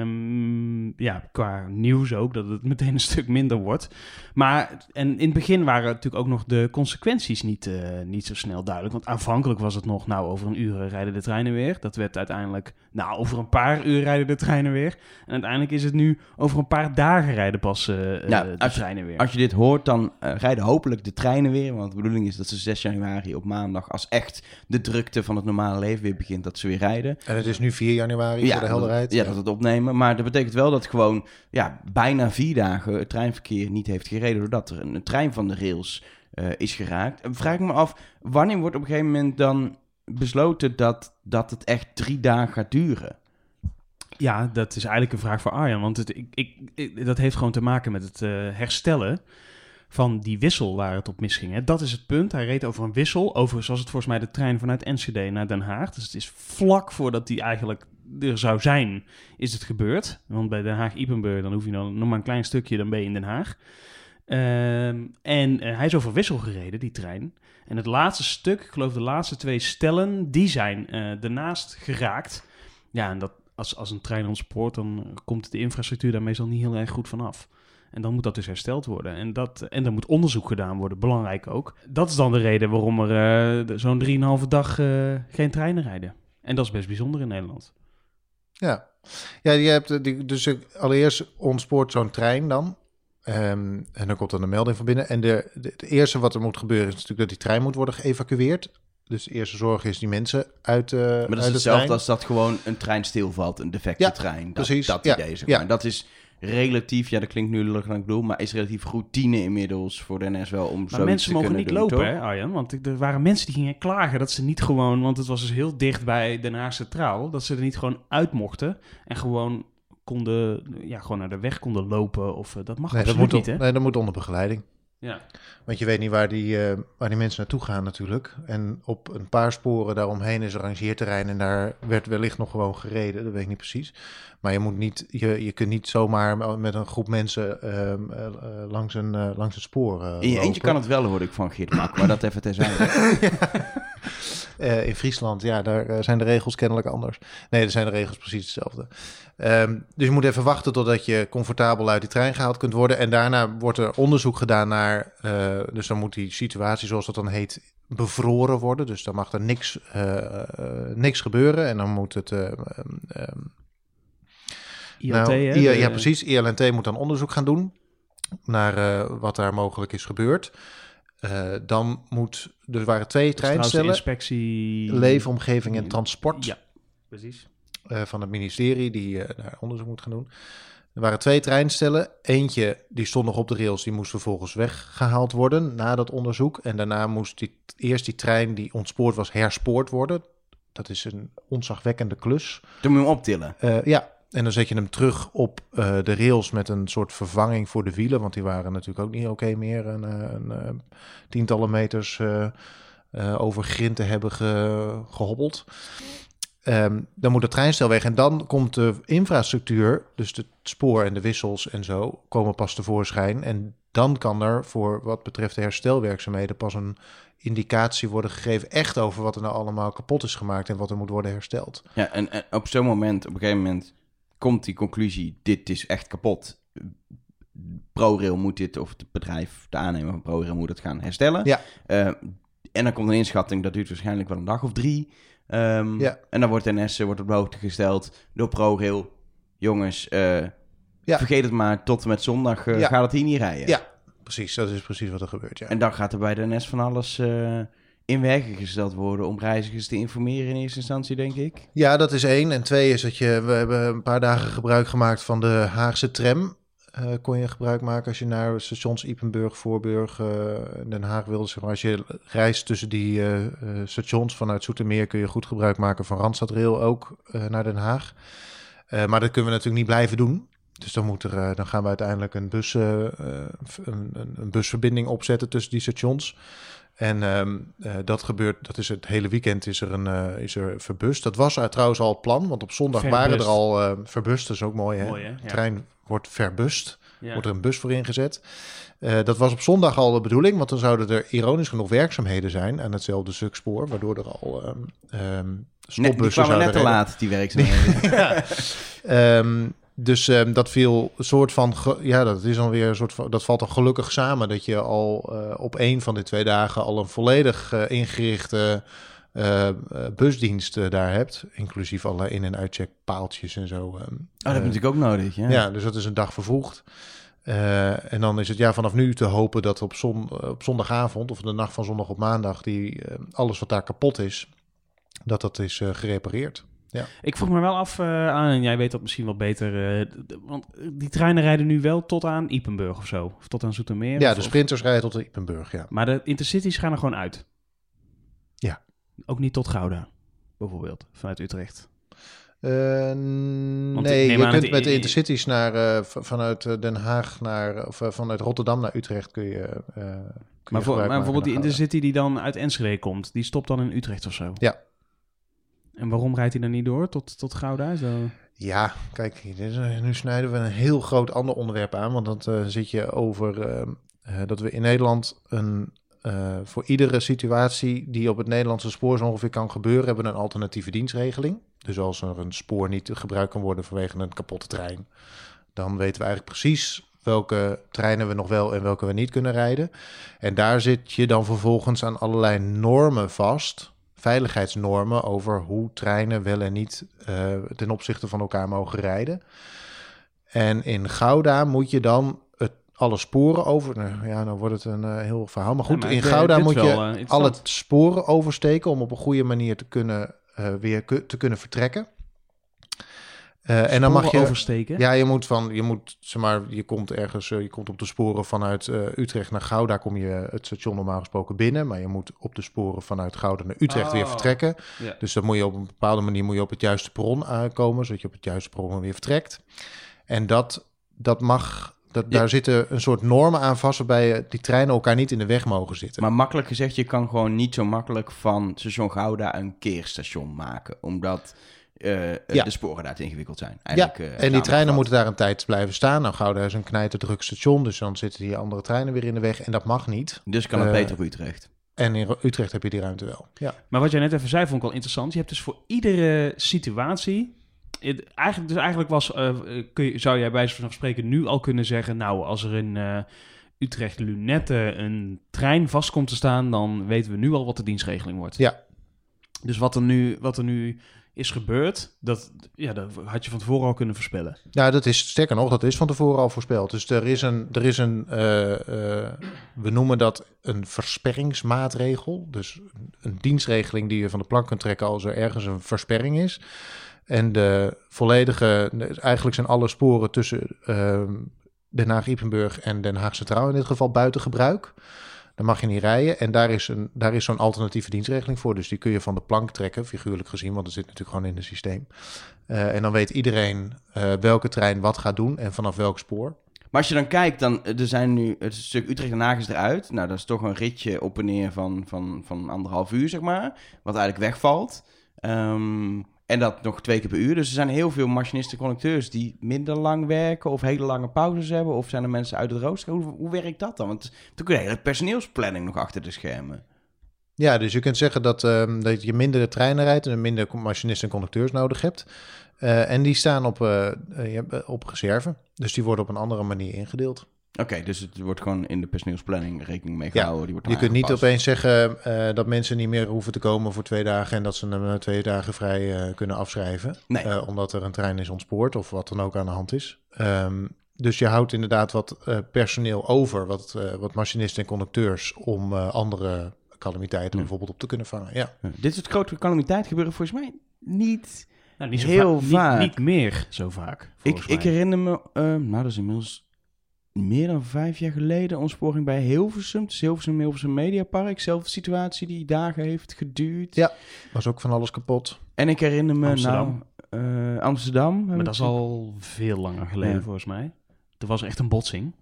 Speaker 1: ehm, ja, qua nieuws ook, dat het meteen een stuk minder wordt. Maar en in het begin waren natuurlijk ook nog de consequenties niet, eh, niet zo snel duidelijk. Want aanvankelijk was het nog, nou, over een uur eh, rijden de treinen weer. Dat werd uiteindelijk, nou, over een paar uur rijden de treinen weer. En uiteindelijk is het nu, over een paar dagen rijden pas eh, eh,
Speaker 2: Ja,
Speaker 1: de
Speaker 2: als je-
Speaker 1: treinen weer.
Speaker 2: Als je dit hoort, dan eh, rijden hopelijk de treinen weer. Want de bedoeling is dat ze 6 januari op maandag, als echt de drukte van het normale leven weer begint, dat ze weer rijden.
Speaker 3: En het is nu 4 januari voor de
Speaker 2: dat-
Speaker 3: helderheid.
Speaker 2: ja, dat het opnemen. Maar dat betekent wel dat gewoon ja, bijna vier dagen het treinverkeer niet heeft gereden. Doordat er een, een trein van de rails eh, is geraakt. En vraag ik me af, wanneer wordt op een gegeven moment dan besloten dat, dat het echt drie dagen gaat duren?
Speaker 3: Eh,
Speaker 1: Ja, dat is eigenlijk een vraag voor Arjan. Want het, ik, ik, ik- dat heeft gewoon te maken met het eh, herstellen van die wissel waar het op misging. Hè. Dat is het punt. Hij reed over een wissel. Overigens was het volgens mij de trein vanuit NCD naar Den Haag. Dus het is vlak voordat die eigenlijk er zou zijn, is het gebeurd. Want bij Den Haag-Ipenburg, dan hoef je dan nog maar een klein stukje, dan ben je in Den Haag. Ehm, en eh, hij is over wissel gereden, die trein. En het laatste stuk, ik geloof de laatste twee stellen, die zijn eh ernaast geraakt. Ja, en dat, als, als een trein ontspoort, dan eh, komt de infrastructuur daar meestal niet heel erg goed van af. En dan moet dat dus hersteld worden. En, dat, en er moet onderzoek gedaan worden, belangrijk ook. Dat is dan de reden waarom er eh, de- zo'n 3,5 dag eh, geen treinen rijden. En dat is best bijzonder in Nederland.
Speaker 3: Ja, ja je hebt, eh, die, dus eh, allereerst ontspoort zo'n trein dan. Ehm, en dan komt dan een melding van binnen. En de, de, het eerste wat er moet gebeuren is natuurlijk dat die trein moet worden geëvacueerd. Dus de eerste zorg is die mensen uit, eh uit
Speaker 2: Maar
Speaker 3: de
Speaker 2: dat is hetzelfde
Speaker 3: trein.
Speaker 2: als dat gewoon een trein stilvalt, een defecte
Speaker 3: Ja,
Speaker 2: trein. Dat,
Speaker 3: precies.
Speaker 2: Dat
Speaker 3: Ja,
Speaker 2: idee, zeg
Speaker 3: ja.
Speaker 2: maar. Dat is relatief, ja dat klinkt nu lullig dan ik bedoel, maar is relatief routine inmiddels voor de NS wel om
Speaker 1: Maar
Speaker 2: zoiets
Speaker 1: mensen
Speaker 2: te
Speaker 1: mogen
Speaker 2: kunnen
Speaker 1: niet
Speaker 2: doen,
Speaker 1: lopen,
Speaker 2: toch?
Speaker 1: hè, Arjan? Want ik- er waren mensen die gingen klagen dat ze niet gewoon... Want het was dus heel dicht bij Den Haag Centraal. Dat ze er niet gewoon uit mochten. En gewoon konden... Ja, gewoon naar de weg konden lopen. Of eh, dat mag
Speaker 3: Nee, dat
Speaker 1: absoluut
Speaker 3: moet,
Speaker 1: niet,
Speaker 3: on-
Speaker 1: hè?
Speaker 3: nee, dat moet onder begeleiding.
Speaker 1: Ja.
Speaker 3: Want je weet niet waar die, eh, waar die mensen naartoe gaan natuurlijk. En op een paar sporen daaromheen is een rangeerterrein en daar werd wellicht nog gewoon gereden. Dat weet ik niet precies. Maar je, moet niet, je, je kunt niet zomaar met een groep mensen ehm, eh, eh, langs, een, eh, langs een spoor eh,
Speaker 2: In je eentje
Speaker 3: lopen.
Speaker 2: kan het wel, hoor ik van Geert Mak, maar dat even terzijde.
Speaker 3: Eh, in Friesland, ja, daar eh, zijn de regels kennelijk anders. Nee, daar zijn de regels precies hetzelfde. Ehm, dus je moet even wachten totdat je comfortabel uit die trein gehaald kunt worden. En daarna wordt er onderzoek gedaan naar. eh, dus dan moet die situatie, zoals dat dan heet, bevroren worden. Dus dan mag er niks, eh, eh, niks gebeuren. En dan moet het. eh, ehm, ehm,
Speaker 1: ILT,
Speaker 3: nou,
Speaker 1: hè?
Speaker 3: I-
Speaker 1: de-
Speaker 3: ja, precies. ILNT moet dan onderzoek gaan doen naar eh, wat daar mogelijk is gebeurd. Eh, dan moet, er waren twee
Speaker 1: Dat is trouwens de
Speaker 3: treinstellen,
Speaker 1: inspectie...
Speaker 3: leefomgeving en transport.
Speaker 1: Ja, precies.
Speaker 3: eh, van het ministerie die eh, daar onderzoek moet gaan doen. Er waren twee treinstellen. Eentje die stond nog op de rails, die moest vervolgens weggehaald worden na dat onderzoek. En daarna moest die, eerst die trein die ontspoord was, herspoord worden. Dat is een ontzagwekkende klus.
Speaker 2: Toen moet je hem optillen.
Speaker 3: Eh, ja, En dan zet je hem terug op eh, de rails met een soort vervanging voor de wielen. Want die waren natuurlijk ook niet oké meer. Een, eh, een, eh, tientallen meters eh, eh, over grind te hebben ge- gehobbeld. Ehm, dan moet het treinstel weg. En dan komt de infrastructuur, dus het spoor en de wissels en zo, komen pas tevoorschijn. En dan kan er voor wat betreft de herstelwerkzaamheden pas een indicatie worden gegeven echt over wat er nou allemaal kapot is gemaakt en wat er moet worden hersteld.
Speaker 2: Ja, en, en op zo'n moment, op een gegeven moment, komt die conclusie: dit is echt kapot. ProRail moet dit, of het bedrijf, de aannemer van ProRail moet het gaan herstellen.
Speaker 3: Ja.
Speaker 2: Eh, en dan komt een inschatting, dat duurt waarschijnlijk wel een dag of drie. Ehm,
Speaker 3: Ja.
Speaker 2: En dan wordt NS wordt op de hoogte gesteld door ProRail. Jongens, eh,
Speaker 3: Ja.
Speaker 2: vergeet het maar, tot en met zondag eh,
Speaker 3: Ja.
Speaker 2: gaat het hier niet rijden.
Speaker 3: Ja. Precies, dat is precies wat er gebeurt. Ja.
Speaker 2: En dan gaat er bij de NS van alles eh, in werken gesteld worden om reizigers te informeren in eerste instantie, denk ik.
Speaker 3: Ja, dat is één. En twee is dat je, we hebben een paar dagen gebruik gemaakt van de Haagse tram. Eh, kon je gebruik maken als je naar stations Ippenburg, Voorburg, eh, Den Haag wilde. Zeg maar. Als je reist tussen die eh, eh, stations vanuit Zoetermeer kun je goed gebruik maken van Randstadrail ook eh, naar Den Haag. Eh, maar dat kunnen we natuurlijk niet blijven doen. Dus dan, moet er, eh, dan gaan we uiteindelijk een, bus, eh, eh, een, een, een busverbinding opzetten tussen die stations. En ehm, eh, dat gebeurt, dat is het hele weekend is er, een, eh, is er verbust. Dat was eh, trouwens al het plan, want op zondag waren er
Speaker 1: Verbust.
Speaker 3: al eh verbust. Dat is ook mooi hè.
Speaker 1: Mooi, hè? Ja.
Speaker 3: De trein wordt verbust,
Speaker 1: Ja.
Speaker 3: wordt er een bus voor ingezet. Eh, dat was op zondag al de bedoeling, want dan zouden er ironisch genoeg werkzaamheden zijn aan hetzelfde stuk spoor, waardoor er al ehm ehm
Speaker 2: Nee, die
Speaker 3: stopbussen
Speaker 2: kwamen
Speaker 3: zouden
Speaker 2: net te
Speaker 3: rijden.
Speaker 2: laat, die werkzaamheden.
Speaker 3: Ehm, dus ehm, dat viel een soort van. ge- Ja, dat is dan weer een soort van. Dat valt dan gelukkig samen. Dat je al eh, op één van de twee dagen al een volledig eh, ingerichte eh, eh, busdienst eh, daar hebt. Inclusief alle in- en uitcheckpaaltjes en zo. ehm.
Speaker 2: Oh, dat heb je natuurlijk ook nodig, ja.
Speaker 3: ja. dus dat is een dag vervroegd. Eh, en dan is het ja vanaf nu te hopen dat op, zon, eh, op zondagavond of de nacht van zondag op maandag, die, eh, alles wat daar kapot is, dat dat is eh, gerepareerd.
Speaker 1: Ik vroeg me wel af, eh, aan, en jij weet dat misschien wel beter, eh, d- d- want die treinen rijden nu wel tot aan Ippenburg of zo. Of tot aan Zoetermeer.
Speaker 3: Ja, dus-
Speaker 1: of-
Speaker 3: de
Speaker 1: of-
Speaker 3: sprinters rijden tot de Ippenburg, ja.
Speaker 1: Maar de intercities gaan er gewoon uit.
Speaker 3: Ja.
Speaker 1: Ook niet tot Gouda, bijvoorbeeld, vanuit Utrecht.
Speaker 3: Eh,
Speaker 1: ik
Speaker 3: nee,
Speaker 1: neem
Speaker 3: je
Speaker 1: aan
Speaker 3: kunt
Speaker 1: dat-
Speaker 3: met de intercities naar, eh, v- vanuit eh, Den Haag naar, of eh, vanuit Rotterdam naar Utrecht kun je. eh, kun je
Speaker 1: Maar, voor,
Speaker 3: gebruik
Speaker 1: maar
Speaker 3: maken
Speaker 1: bijvoorbeeld die
Speaker 3: van Gouda.
Speaker 1: intercity die dan uit Enschede komt, die stopt dan in Utrecht of zo.
Speaker 3: Ja.
Speaker 1: En waarom rijdt hij dan niet door tot, tot Gouda? Zo.
Speaker 3: Ja, kijk, dit is, eh, nu snijden we een heel groot ander onderwerp aan. Want dan eh, zit je over eh, eh, dat we in Nederland een, eh, voor iedere situatie die op het Nederlandse spoor zo ongeveer kan gebeuren, hebben we een alternatieve dienstregeling. Dus als er een spoor niet gebruikt kan worden vanwege een kapotte trein, dan weten we eigenlijk precies welke treinen we nog wel en welke we niet kunnen rijden. En daar zit je dan vervolgens aan allerlei normen vast. Veiligheidsnormen over hoe treinen wel en niet eh, ten opzichte van elkaar mogen rijden. En in Gouda moet je dan het, alle sporen over. Nou, ja, dan wordt het een eh, heel verhaal. Maar goed,
Speaker 1: Ja, maar
Speaker 3: in
Speaker 1: ik, eh,
Speaker 3: Gouda
Speaker 1: dit
Speaker 3: moet
Speaker 1: wel,
Speaker 3: je
Speaker 1: eh, interessant.
Speaker 3: alle sporen oversteken om op een goede manier te kunnen, eh, weer ku- te kunnen vertrekken. Eh, en dan mag
Speaker 1: Sporen
Speaker 3: je
Speaker 1: oversteken.
Speaker 3: ja, je moet van, je moet, zeg maar, je komt ergens, eh, je komt op de sporen vanuit eh, Utrecht naar Gouda, kom je het station normaal gesproken binnen, maar je moet op de sporen vanuit Gouda naar Utrecht weer
Speaker 1: Oh.
Speaker 3: vertrekken.
Speaker 1: Ja.
Speaker 3: Dus dan moet je op een bepaalde manier moet je op het juiste perron aankomen, zodat je op het juiste perron weer vertrekt. En dat, dat mag, dat,
Speaker 2: Ja.
Speaker 3: daar zitten een soort normen aan vast waarbij eh, die treinen elkaar niet in de weg mogen zitten.
Speaker 2: Maar makkelijk gezegd, je kan gewoon niet zo makkelijk van station Gouda een keerstation maken. Omdat eh,
Speaker 3: Ja.
Speaker 2: de sporen daar te ingewikkeld zijn. Eigenlijk, eh,
Speaker 3: En die
Speaker 2: samengevat.
Speaker 3: treinen moeten daar een tijd blijven staan. Nou, Gouda is een knijterdruk station, dus dan zitten die andere treinen weer in de weg en dat mag niet.
Speaker 2: Dus kan het
Speaker 3: eh,
Speaker 2: beter op Utrecht.
Speaker 3: En in Utrecht heb je die ruimte wel. Ja.
Speaker 1: Maar wat jij net even zei, vond ik wel interessant. Je hebt dus voor iedere situatie. het- eigenlijk, dus eigenlijk was, eh, eh, kun je, zou jij bij wijze van spreken nu al kunnen zeggen... nou, als er in eh, Utrecht-Lunette een trein vast komt te staan... dan weten we nu al wat de dienstregeling wordt.
Speaker 3: Ja.
Speaker 1: Dus wat er nu, wat er nu is gebeurd, dat, ja, dat had je van tevoren al kunnen voorspellen.
Speaker 3: Nou, dat is sterker nog, dat is van tevoren al voorspeld. Dus er is een, er is een eh, eh, we noemen dat een versperringsmaatregel. Dus een dienstregeling die je van de plank kunt trekken als er ergens een versperring is. En de volledige, eigenlijk zijn alle sporen ehm, tussen eh, Den Haag-Iepenburg en Den Haag Centraal in dit geval buiten gebruik. Dan mag je niet rijden. En daar is, een, daar is zo'n alternatieve dienstregeling voor. Dus die kun je van de plank trekken, figuurlijk gezien, want dat zit natuurlijk gewoon in het systeem. Eh, en dan weet iedereen eh, welke trein wat gaat doen en vanaf welk spoor.
Speaker 2: Maar als je dan kijkt, dan, eh, er zijn nu het stuk Utrecht en Haag is eruit. Nou, dat is toch een ritje op en neer van, van, van anderhalf uur, zeg maar. Wat eigenlijk wegvalt. Ehm, en dat nog twee keer per uur. Dus er zijn heel veel machinisten conducteurs die minder lang werken... of hele lange pauzes hebben. Of zijn er mensen uit het rooster? Hoe, hoe werkt dat dan? Want er is natuurlijk een hele personeelsplanning nog achter de schermen.
Speaker 3: Ja, dus je kunt zeggen dat, ehm, dat je minder treinen rijdt en minder machinisten en conducteurs nodig hebt. Eh, en die staan op, eh, eh, je hebt, eh, op reserve. Dus die worden op een andere manier ingedeeld.
Speaker 2: Oké, dus het wordt gewoon in de personeelsplanning rekening mee
Speaker 3: Ja,
Speaker 2: gehouden. die wordt dan
Speaker 3: Je kunt niet
Speaker 2: aangepast.
Speaker 3: opeens zeggen eh, dat mensen niet meer hoeven te komen voor twee dagen en dat ze hem eh, twee dagen vrij eh, kunnen afschrijven.
Speaker 2: Nee.
Speaker 3: Eh, omdat er een trein is ontspoord of wat dan ook aan de hand is. Ehm, dus je houdt inderdaad wat eh, personeel over, wat, eh, wat machinisten en conducteurs, om eh, andere calamiteiten
Speaker 2: Ja.
Speaker 3: bijvoorbeeld op te kunnen vangen. Ja.
Speaker 2: Ja, Dit soort grote calamiteit gebeuren volgens mij niet...
Speaker 1: Nou, niet zo
Speaker 2: Heel
Speaker 1: va-
Speaker 2: vaak.
Speaker 1: Niet, niet meer zo vaak.
Speaker 2: Ik,
Speaker 1: volgens
Speaker 2: ik
Speaker 1: mij.
Speaker 2: herinner me, eh, nou dat is inmiddels meer dan vijf jaar geleden, ontsporing bij Hilversum. Dus Hilversum, Hilversum Mediapark. Zelfde situatie die dagen heeft geduurd.
Speaker 3: Ja. Was ook van alles kapot.
Speaker 2: En ik herinner me,
Speaker 1: Amsterdam.
Speaker 2: nou, eh, Amsterdam. heb
Speaker 1: Maar
Speaker 2: ik
Speaker 1: dat is
Speaker 2: gezien.
Speaker 1: al veel langer geleden,
Speaker 2: Ja.
Speaker 1: volgens mij. Er was echt een botsing.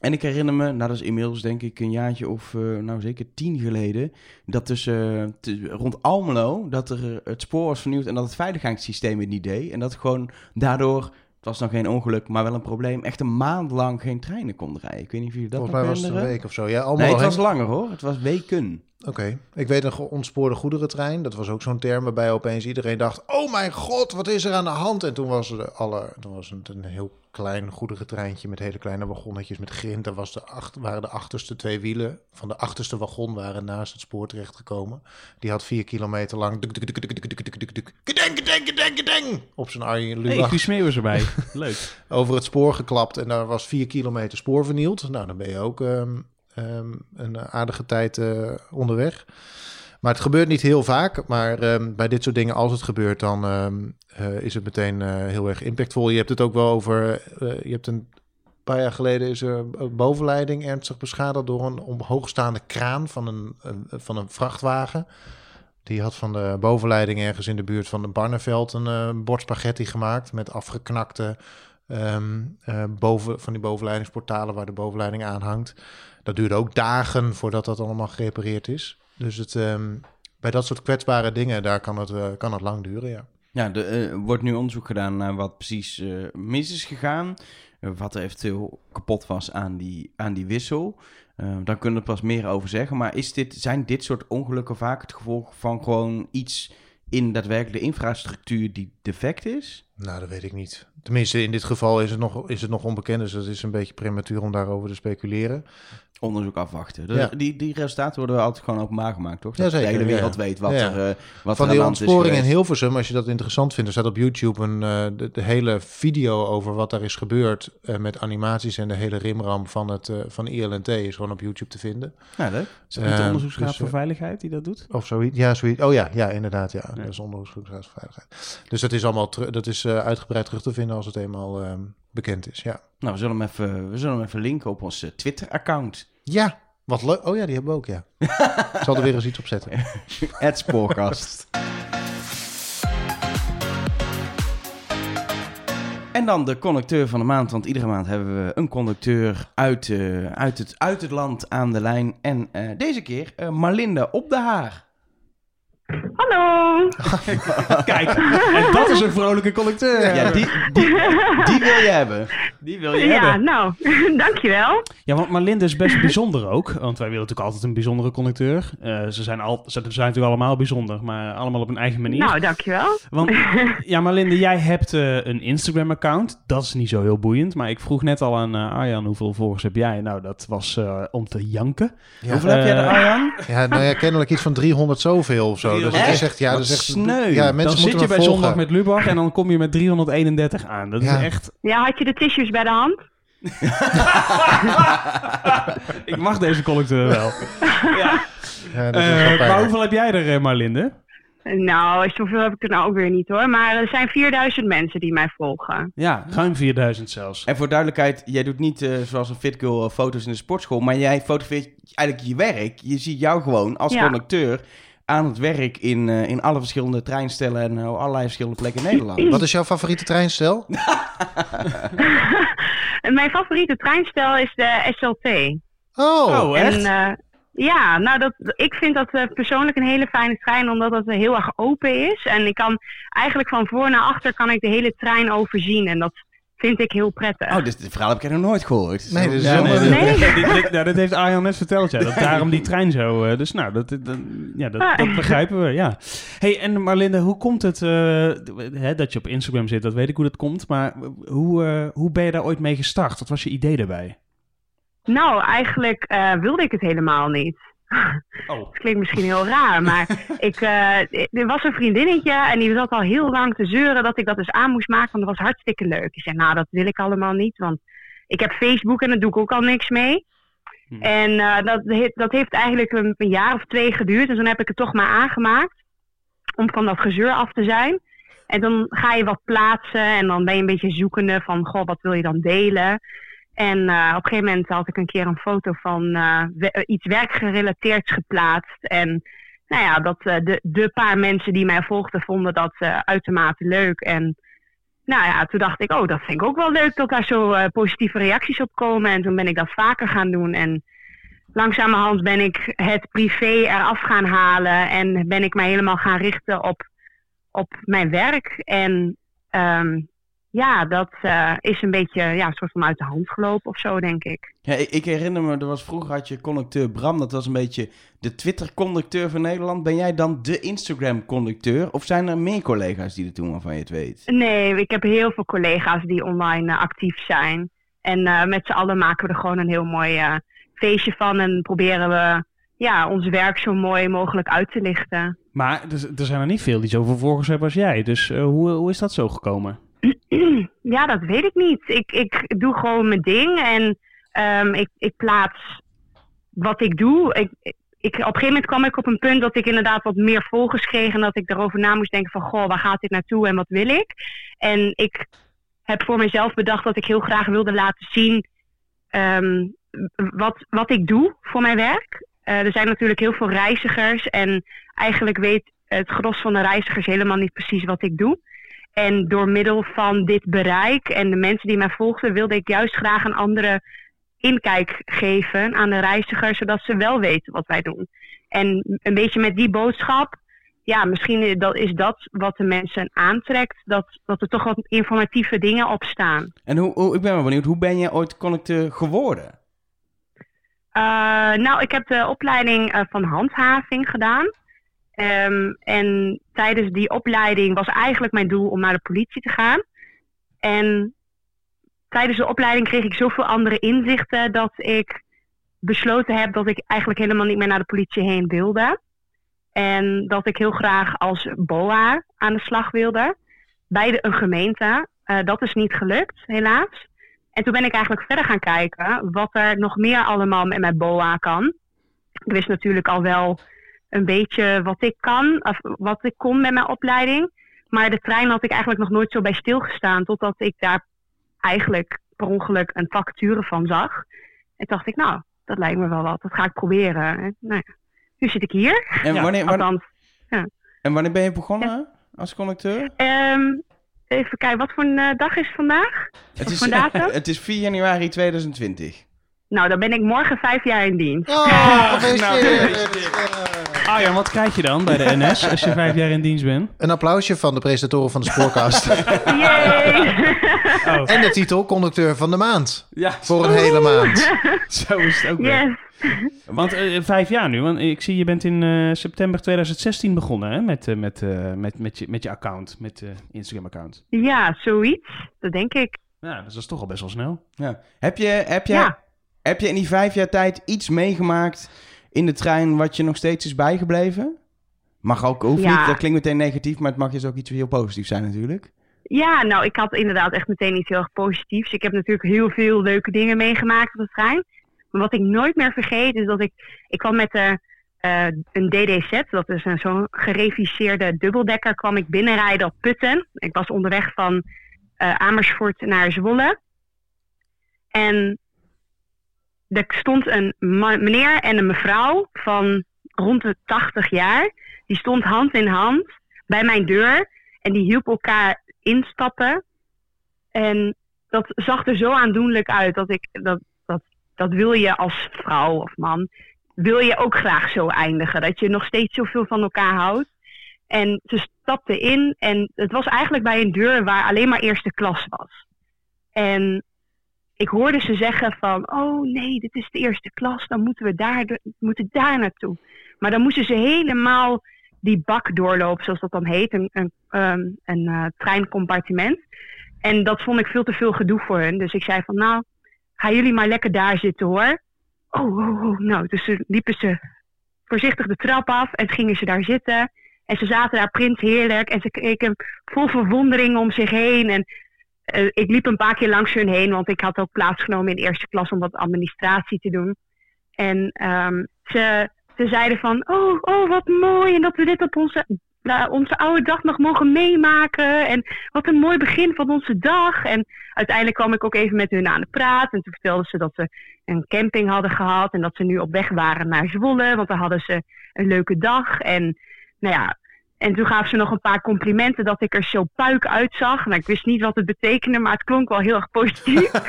Speaker 2: En ik herinner me, nou dat is inmiddels denk ik een jaartje of eh, nou zeker tien geleden, dat tussen eh, te- rond Almelo, dat er eh, het spoor was vernieuwd en dat het veiligheidssysteem het niet deed. En dat gewoon daardoor, het was nog geen ongeluk, maar wel een probleem, echt een maand lang geen treinen konden rijden. Ik weet niet of jullie dat
Speaker 3: Volgens
Speaker 2: nog
Speaker 3: mij was het een
Speaker 2: herinneren.
Speaker 3: week of zo. Ja, allemaal
Speaker 2: Nee, het
Speaker 3: heen-
Speaker 2: was langer hoor. Het was weken.
Speaker 3: Oké, ik weet een ge- ontspoorde goederentrein. Dat was ook zo'n term waarbij opeens iedereen dacht... oh mijn god, wat is er aan de hand? En toen was, er alle, toen was het een heel klein goederentreintje... met hele kleine wagonnetjes met grind. Daar was de acht, waren de achterste twee wielen van de achterste wagon... waren naast het spoor terechtgekomen. Die had vier kilometer lang... duk, duk, duk, duk, duk, duk, duk, duk, duk, gedeng, gedeng, gedeng, gedeng, op zijn arjen
Speaker 1: Nee,
Speaker 3: luwag
Speaker 1: Guus Meeuw is erbij. Leuk.
Speaker 3: over het spoor geklapt en daar was vier kilometer spoor vernield. Nou, dan ben je ook ehm, ehm, een aardige tijd eh, onderweg. Maar het gebeurt niet heel vaak, maar ehm, bij dit soort dingen, als het gebeurt, dan ehm, eh, is het meteen eh, heel erg impactvol. Je hebt het ook wel over, eh, je hebt een paar jaar geleden is er een bovenleiding ernstig beschadigd door een omhoogstaande kraan van een, een- van een vrachtwagen. Die had van de bovenleiding ergens in de buurt van de Barneveld een eh, bord spaghetti gemaakt met afgeknakte Ehm, eh, boven, van die bovenleidingsportalen waar de bovenleiding aan hangt. Dat duurde ook dagen voordat dat allemaal gerepareerd is. Dus het, ehm, bij dat soort kwetsbare dingen, daar kan het, eh, kan het lang duren, ja.
Speaker 2: Ja, er eh, wordt nu onderzoek gedaan naar wat precies eh, mis is gegaan. eh, wat er eventueel kapot was aan die, aan die wissel. Eh, dan kunnen we er pas meer over zeggen. Maar is dit, zijn dit soort ongelukken vaak het gevolg van gewoon iets in daadwerkelijk de infrastructuur die defect is?
Speaker 3: Nou, dat weet ik niet. Tenminste, in dit geval is het nog, is het nog onbekend, dus dat is een beetje prematuur om daarover te speculeren.
Speaker 2: Onderzoek afwachten. Dus
Speaker 3: Ja.
Speaker 2: die, die resultaten worden altijd gewoon openbaar gemaakt, toch?
Speaker 3: Ja,
Speaker 2: Dat de
Speaker 3: zeker,
Speaker 2: hele
Speaker 3: ja,
Speaker 2: wereld
Speaker 3: ja.
Speaker 2: weet wat
Speaker 3: Ja, ja.
Speaker 2: er eh, wat
Speaker 3: van
Speaker 2: er aan de
Speaker 3: die
Speaker 2: hand is
Speaker 3: ontsporing in
Speaker 2: geweest.
Speaker 3: Hilversum, als je dat interessant vindt, er staat op YouTube een, eh, de, de hele video over wat daar is gebeurd eh, met animaties en de hele rimram van, het, eh, van ILNT is gewoon op YouTube te vinden.
Speaker 2: Ja, Nou, leuk.
Speaker 1: Is het niet de
Speaker 2: Ehm.
Speaker 3: Eh,
Speaker 1: onderzoeksraad
Speaker 3: dus,
Speaker 1: voor
Speaker 3: eh,
Speaker 1: Veiligheid die dat doet?
Speaker 3: Of zoiets. Ja, zoiets. Oh ja, ja inderdaad. Ja.
Speaker 1: Ja.
Speaker 3: Dat is onderzoeksveiligheid. Dus dat is allemaal teru- dat is, eh, uitgebreid terug te vinden als het eenmaal ehm, bekend is. Ja.
Speaker 2: Nou, we zullen hem even, we zullen hem even linken op ons eh, Twitter-account.
Speaker 3: ja, wat leuk. Oh ja, die hebben we ook, ja. Ik zal er weer eens iets op zetten.
Speaker 2: Het Spoorkast. En dan de conducteur van de maand, want iedere maand hebben we een conducteur uit, eh, uit, het, uit het land aan de lijn. En eh, deze keer eh, Marlinde op de haar.
Speaker 4: Hallo!
Speaker 1: Kijk, en dat is een vrolijke collecteur.
Speaker 2: Ja, die, die, die wil je hebben.
Speaker 1: Die wil je
Speaker 4: Ja,
Speaker 1: hebben.
Speaker 4: nou, dankjewel.
Speaker 1: Ja, want Marlinde is best bijzonder ook. Want wij willen natuurlijk altijd een bijzondere conducteur. Eh, ze, zijn al, ze zijn natuurlijk allemaal bijzonder, maar allemaal op een eigen manier.
Speaker 4: Nou, dankjewel.
Speaker 1: Want, ja, Marlinde, jij hebt eh, een Instagram-account. Dat is niet zo heel boeiend. Maar ik vroeg net al aan eh, Arjan, hoeveel volgers heb jij? Nou, dat was eh, om te janken.
Speaker 3: Ja,
Speaker 2: Hoeveel heb jij er,
Speaker 1: Eh,
Speaker 2: Arjan?
Speaker 3: ja, nou ja, kennelijk iets van 300 zoveel of zo. Dus het is
Speaker 2: Echt?
Speaker 3: echt, ja, dat
Speaker 2: Wat
Speaker 3: is echt
Speaker 2: sneu.
Speaker 3: Ja,
Speaker 1: dan
Speaker 2: Dan
Speaker 3: mensen
Speaker 1: zit
Speaker 3: moeten
Speaker 1: je
Speaker 3: me
Speaker 1: bij
Speaker 3: volgen.
Speaker 1: zondag met Lubach en dan kom je met 331 aan. Dat
Speaker 3: Ja.
Speaker 1: is echt...
Speaker 4: Ja, had je de tissues bij de hand?
Speaker 1: Ik mag deze collecteur wel.
Speaker 3: Ja, dat is wel
Speaker 1: Eh, maar
Speaker 3: pijnlijk.
Speaker 1: hoeveel heb jij er, eh, Marlinde?
Speaker 4: Nou, zoveel heb ik er nou ook weer niet hoor. Maar er zijn 4000 mensen die mij volgen.
Speaker 2: Ja.
Speaker 1: Ruim 4000 zelfs.
Speaker 2: En voor duidelijkheid, jij doet niet eh, zoals een fit girl eh, foto's in de sportschool, maar jij fotografeert eigenlijk je werk. Je ziet jou gewoon als
Speaker 4: Ja.
Speaker 2: conducteur aan het werk in, eh, in alle verschillende treinstellen en eh, allerlei verschillende plekken in Nederland.
Speaker 3: Wat is jouw favoriete treinstel?
Speaker 4: En mijn favoriete treinstel is de SLT.
Speaker 3: Oh,
Speaker 1: Oh, echt?
Speaker 4: En, eh, ja, nou dat, ik vind dat eh, persoonlijk een hele fijne trein, omdat het eh, heel erg open is. En ik kan eigenlijk van voor naar achter kan ik de hele trein overzien. En dat vind ik heel prettig.
Speaker 2: Oh, dit, dit verhaal heb ik er nog nooit gehoord.
Speaker 3: Nee, dit is
Speaker 1: Ja,
Speaker 3: wel-
Speaker 1: nee,
Speaker 3: nee,
Speaker 1: dit,
Speaker 4: Nee.
Speaker 1: dit- dit- nou, dit heeft Arjan net verteld, ja. Dat daarom die trein zo... eh, dus nou, dat, dat- dat- ja, dat,
Speaker 4: Ah.
Speaker 1: dat begrijpen we, ja. hey, en Marlinde, hoe komt het eh, hè, dat je op Instagram zit? Dat weet ik hoe dat komt, maar hoe, eh, hoe ben je daar ooit mee gestart? Wat was je idee daarbij?
Speaker 4: Nou, eigenlijk eh, wilde ik het helemaal niet.
Speaker 1: Oh.
Speaker 4: Het klinkt misschien heel raar, maar ik, eh, er was een vriendinnetje en die zat al heel lang te zeuren dat ik dat eens aan moest maken, want dat was hartstikke leuk. Ik zei, nou, dat wil ik allemaal niet, want ik heb Facebook en daar doe ik ook al niks mee.
Speaker 1: Hmm.
Speaker 4: En eh, dat, he- dat heeft eigenlijk een, een jaar of twee geduurd, dus dan heb ik het toch maar aangemaakt om van dat gezeur af te zijn. En dan ga je wat plaatsen en dan ben je een beetje zoekende van, goh, wat wil je dan delen? En eh, op een gegeven moment had ik een keer een foto van eh, we- eh, iets werkgerelateerds geplaatst. En nou ja, dat eh, de, de paar mensen die mij volgden vonden dat eh, uitermate leuk. En nou ja, toen dacht ik, oh, dat vind ik ook wel leuk dat daar zo eh, positieve reacties op komen. En toen ben ik dat vaker gaan doen. En langzamerhand ben ik het privé eraf gaan halen. En ben ik mij helemaal gaan richten op, op mijn werk. En ehm, ja, dat eh, is een beetje ja, soort van uit de hand gelopen of zo, denk ik.
Speaker 2: Ja, ik, ik herinner me, er was vroeger had je conducteur Bram, dat was een beetje de Twitter-conducteur van Nederland. Ben jij dan de Instagram-conducteur? Of zijn er meer collega's die er toen al van je het weet?
Speaker 4: Nee, ik heb heel veel collega's die online eh, actief zijn. En eh, met z'n allen maken we er gewoon een heel mooi eh, feestje van. En proberen we ja, ons werk zo mooi mogelijk uit te lichten.
Speaker 1: Maar er, er zijn er niet veel die zoveel volgers hebben als jij. Dus eh, hoe, hoe is dat zo gekomen?
Speaker 4: Ja, dat weet ik niet. Ik, ik doe gewoon mijn ding en ehm, ik, ik plaats wat ik doe. Ik, ik, op een gegeven moment kwam ik op een punt dat ik inderdaad wat meer volgers kreeg. En dat ik daarover na moest denken van, goh, waar gaat dit naartoe en wat wil ik? En ik heb voor mezelf bedacht dat ik heel graag wilde laten zien ehm, wat, wat ik doe voor mijn werk. Eh, er zijn natuurlijk heel veel reizigers en eigenlijk weet het gros van de reizigers helemaal niet precies wat ik doe. En door middel van dit bereik en de mensen die mij volgden, wilde ik juist graag een andere inkijk geven aan de reiziger, zodat ze wel weten wat wij doen. En een beetje met die boodschap, ja, misschien i- dat is dat wat de mensen aantrekt, dat, dat er toch wat informatieve dingen op staan.
Speaker 2: En hoe, hoe, ik ben wel benieuwd, hoe ben jij ooit conducteur geworden?
Speaker 4: Eh, nou, ik heb de opleiding eh, van handhaving gedaan. Ehm, en tijdens die opleiding was eigenlijk mijn doel om naar de politie te gaan. En tijdens de opleiding kreeg ik zoveel andere inzichten dat ik besloten heb dat ik eigenlijk helemaal niet meer naar de politie heen wilde. En dat ik heel graag als BOA aan de slag wilde. Bij de, een gemeente. Eh, dat is niet gelukt, helaas. En toen ben ik eigenlijk verder gaan kijken wat er nog meer allemaal met mijn BOA kan. Ik wist natuurlijk al wel een beetje wat ik kan, of wat ik kon met mijn opleiding. Maar de trein had ik eigenlijk nog nooit zo bij stilgestaan, totdat ik daar eigenlijk per ongeluk een vacature van zag. En dacht ik, nou, dat lijkt me wel wat, dat ga ik proberen. En, nou ja, nu zit ik hier,
Speaker 2: En
Speaker 1: Ja,
Speaker 2: wanneer, wanneer-
Speaker 4: althans.
Speaker 2: en wanneer ben je begonnen als conducteur?
Speaker 4: Ehm, even kijken, wat voor een eh, dag is het vandaag?
Speaker 2: Het
Speaker 4: Wat
Speaker 2: is,
Speaker 4: voor datum?
Speaker 2: het is 4 januari 2020.
Speaker 4: Nou, dan ben ik morgen vijf jaar in dienst.
Speaker 3: Oh,
Speaker 1: Nou,
Speaker 3: gefeliciteerd.
Speaker 1: Arjan, wat krijg je dan bij de NS als je vijf jaar in dienst bent?
Speaker 3: Een applausje van de presentatoren van de spoorkast.
Speaker 4: Yay!
Speaker 3: en de titel conducteur van de maand.
Speaker 2: Ja,
Speaker 3: Voor een hele maand.
Speaker 1: Oh. Zo is het ook weer.
Speaker 4: yes!
Speaker 1: Want eh, vijf jaar nu, want ik zie je bent in eh, september 2016 begonnen hè? Met, eh, met, eh, met, met, je, met je account, met eh, je Instagram-account.
Speaker 4: Ja, zoiets. Dat denk ik.
Speaker 1: Ja, dus dat is toch al best wel snel.
Speaker 2: Ja. Heb, je, heb, jij,
Speaker 4: Ja.
Speaker 2: heb je in die vijf jaar tijd iets meegemaakt in de trein wat je nog steeds is bijgebleven? Mag ook, hoeft
Speaker 4: Ja.
Speaker 2: niet, dat klinkt meteen negatief, maar het mag dus ook iets heel positiefs zijn natuurlijk.
Speaker 4: Ja, nou, ik had inderdaad echt meteen iets heel erg positiefs. Ik heb natuurlijk heel veel leuke dingen meegemaakt op de trein. Maar wat ik nooit meer vergeet is dat ik... Ik kwam met de eh, eh, een DDZ, dat is een zo'n gereviseerde dubbeldekker, kwam ik binnenrijden op Putten. Ik was onderweg van eh, Amersfoort naar Zwolle. En er stond een ma- meneer en een mevrouw van rond de 80 jaar. Die stond hand in hand bij mijn deur en die hielp elkaar instappen. En dat zag er zo aandoenlijk uit dat ik dat, dat, dat wil je als vrouw of man wil je ook graag zo eindigen. Dat je nog steeds zoveel van elkaar houdt. En ze stapte in en het was eigenlijk bij een deur waar alleen maar eerste klas was. En ik hoorde ze zeggen van, oh nee, dit is de eerste klas, dan moeten we daar, de- moeten daar naartoe. Maar dan moesten ze helemaal die bak doorlopen, zoals dat dan heet, een, een, ehm, een eh, treincompartiment. En dat vond ik veel te veel gedoe voor hun. Dus ik zei van, nou, gaan jullie maar lekker daar zitten hoor oh, oh, oh, nou, dus ze liepen ze voorzichtig de trap af en gingen ze daar zitten. En ze zaten daar prins heerlijk en ze keken vol verwondering om zich heen. En eh, ik liep een paar keer langs hun heen, want ik had ook plaatsgenomen in de eerste klas om wat administratie te doen. En ehm, ze, ze zeiden van, oh, oh, wat mooi en dat we dit op onze, na onze oude dag nog mogen meemaken. En wat een mooi begin van onze dag. En uiteindelijk kwam ik ook even met hun aan de praat en toen vertelden ze dat ze een camping hadden gehad en dat ze nu op weg waren naar Zwolle, want daar hadden ze een leuke dag. En, nou ja, en toen gaf ze nog een paar complimenten dat ik er zo puik uitzag. Nou, ik wist niet wat het betekende, maar het klonk wel heel erg positief.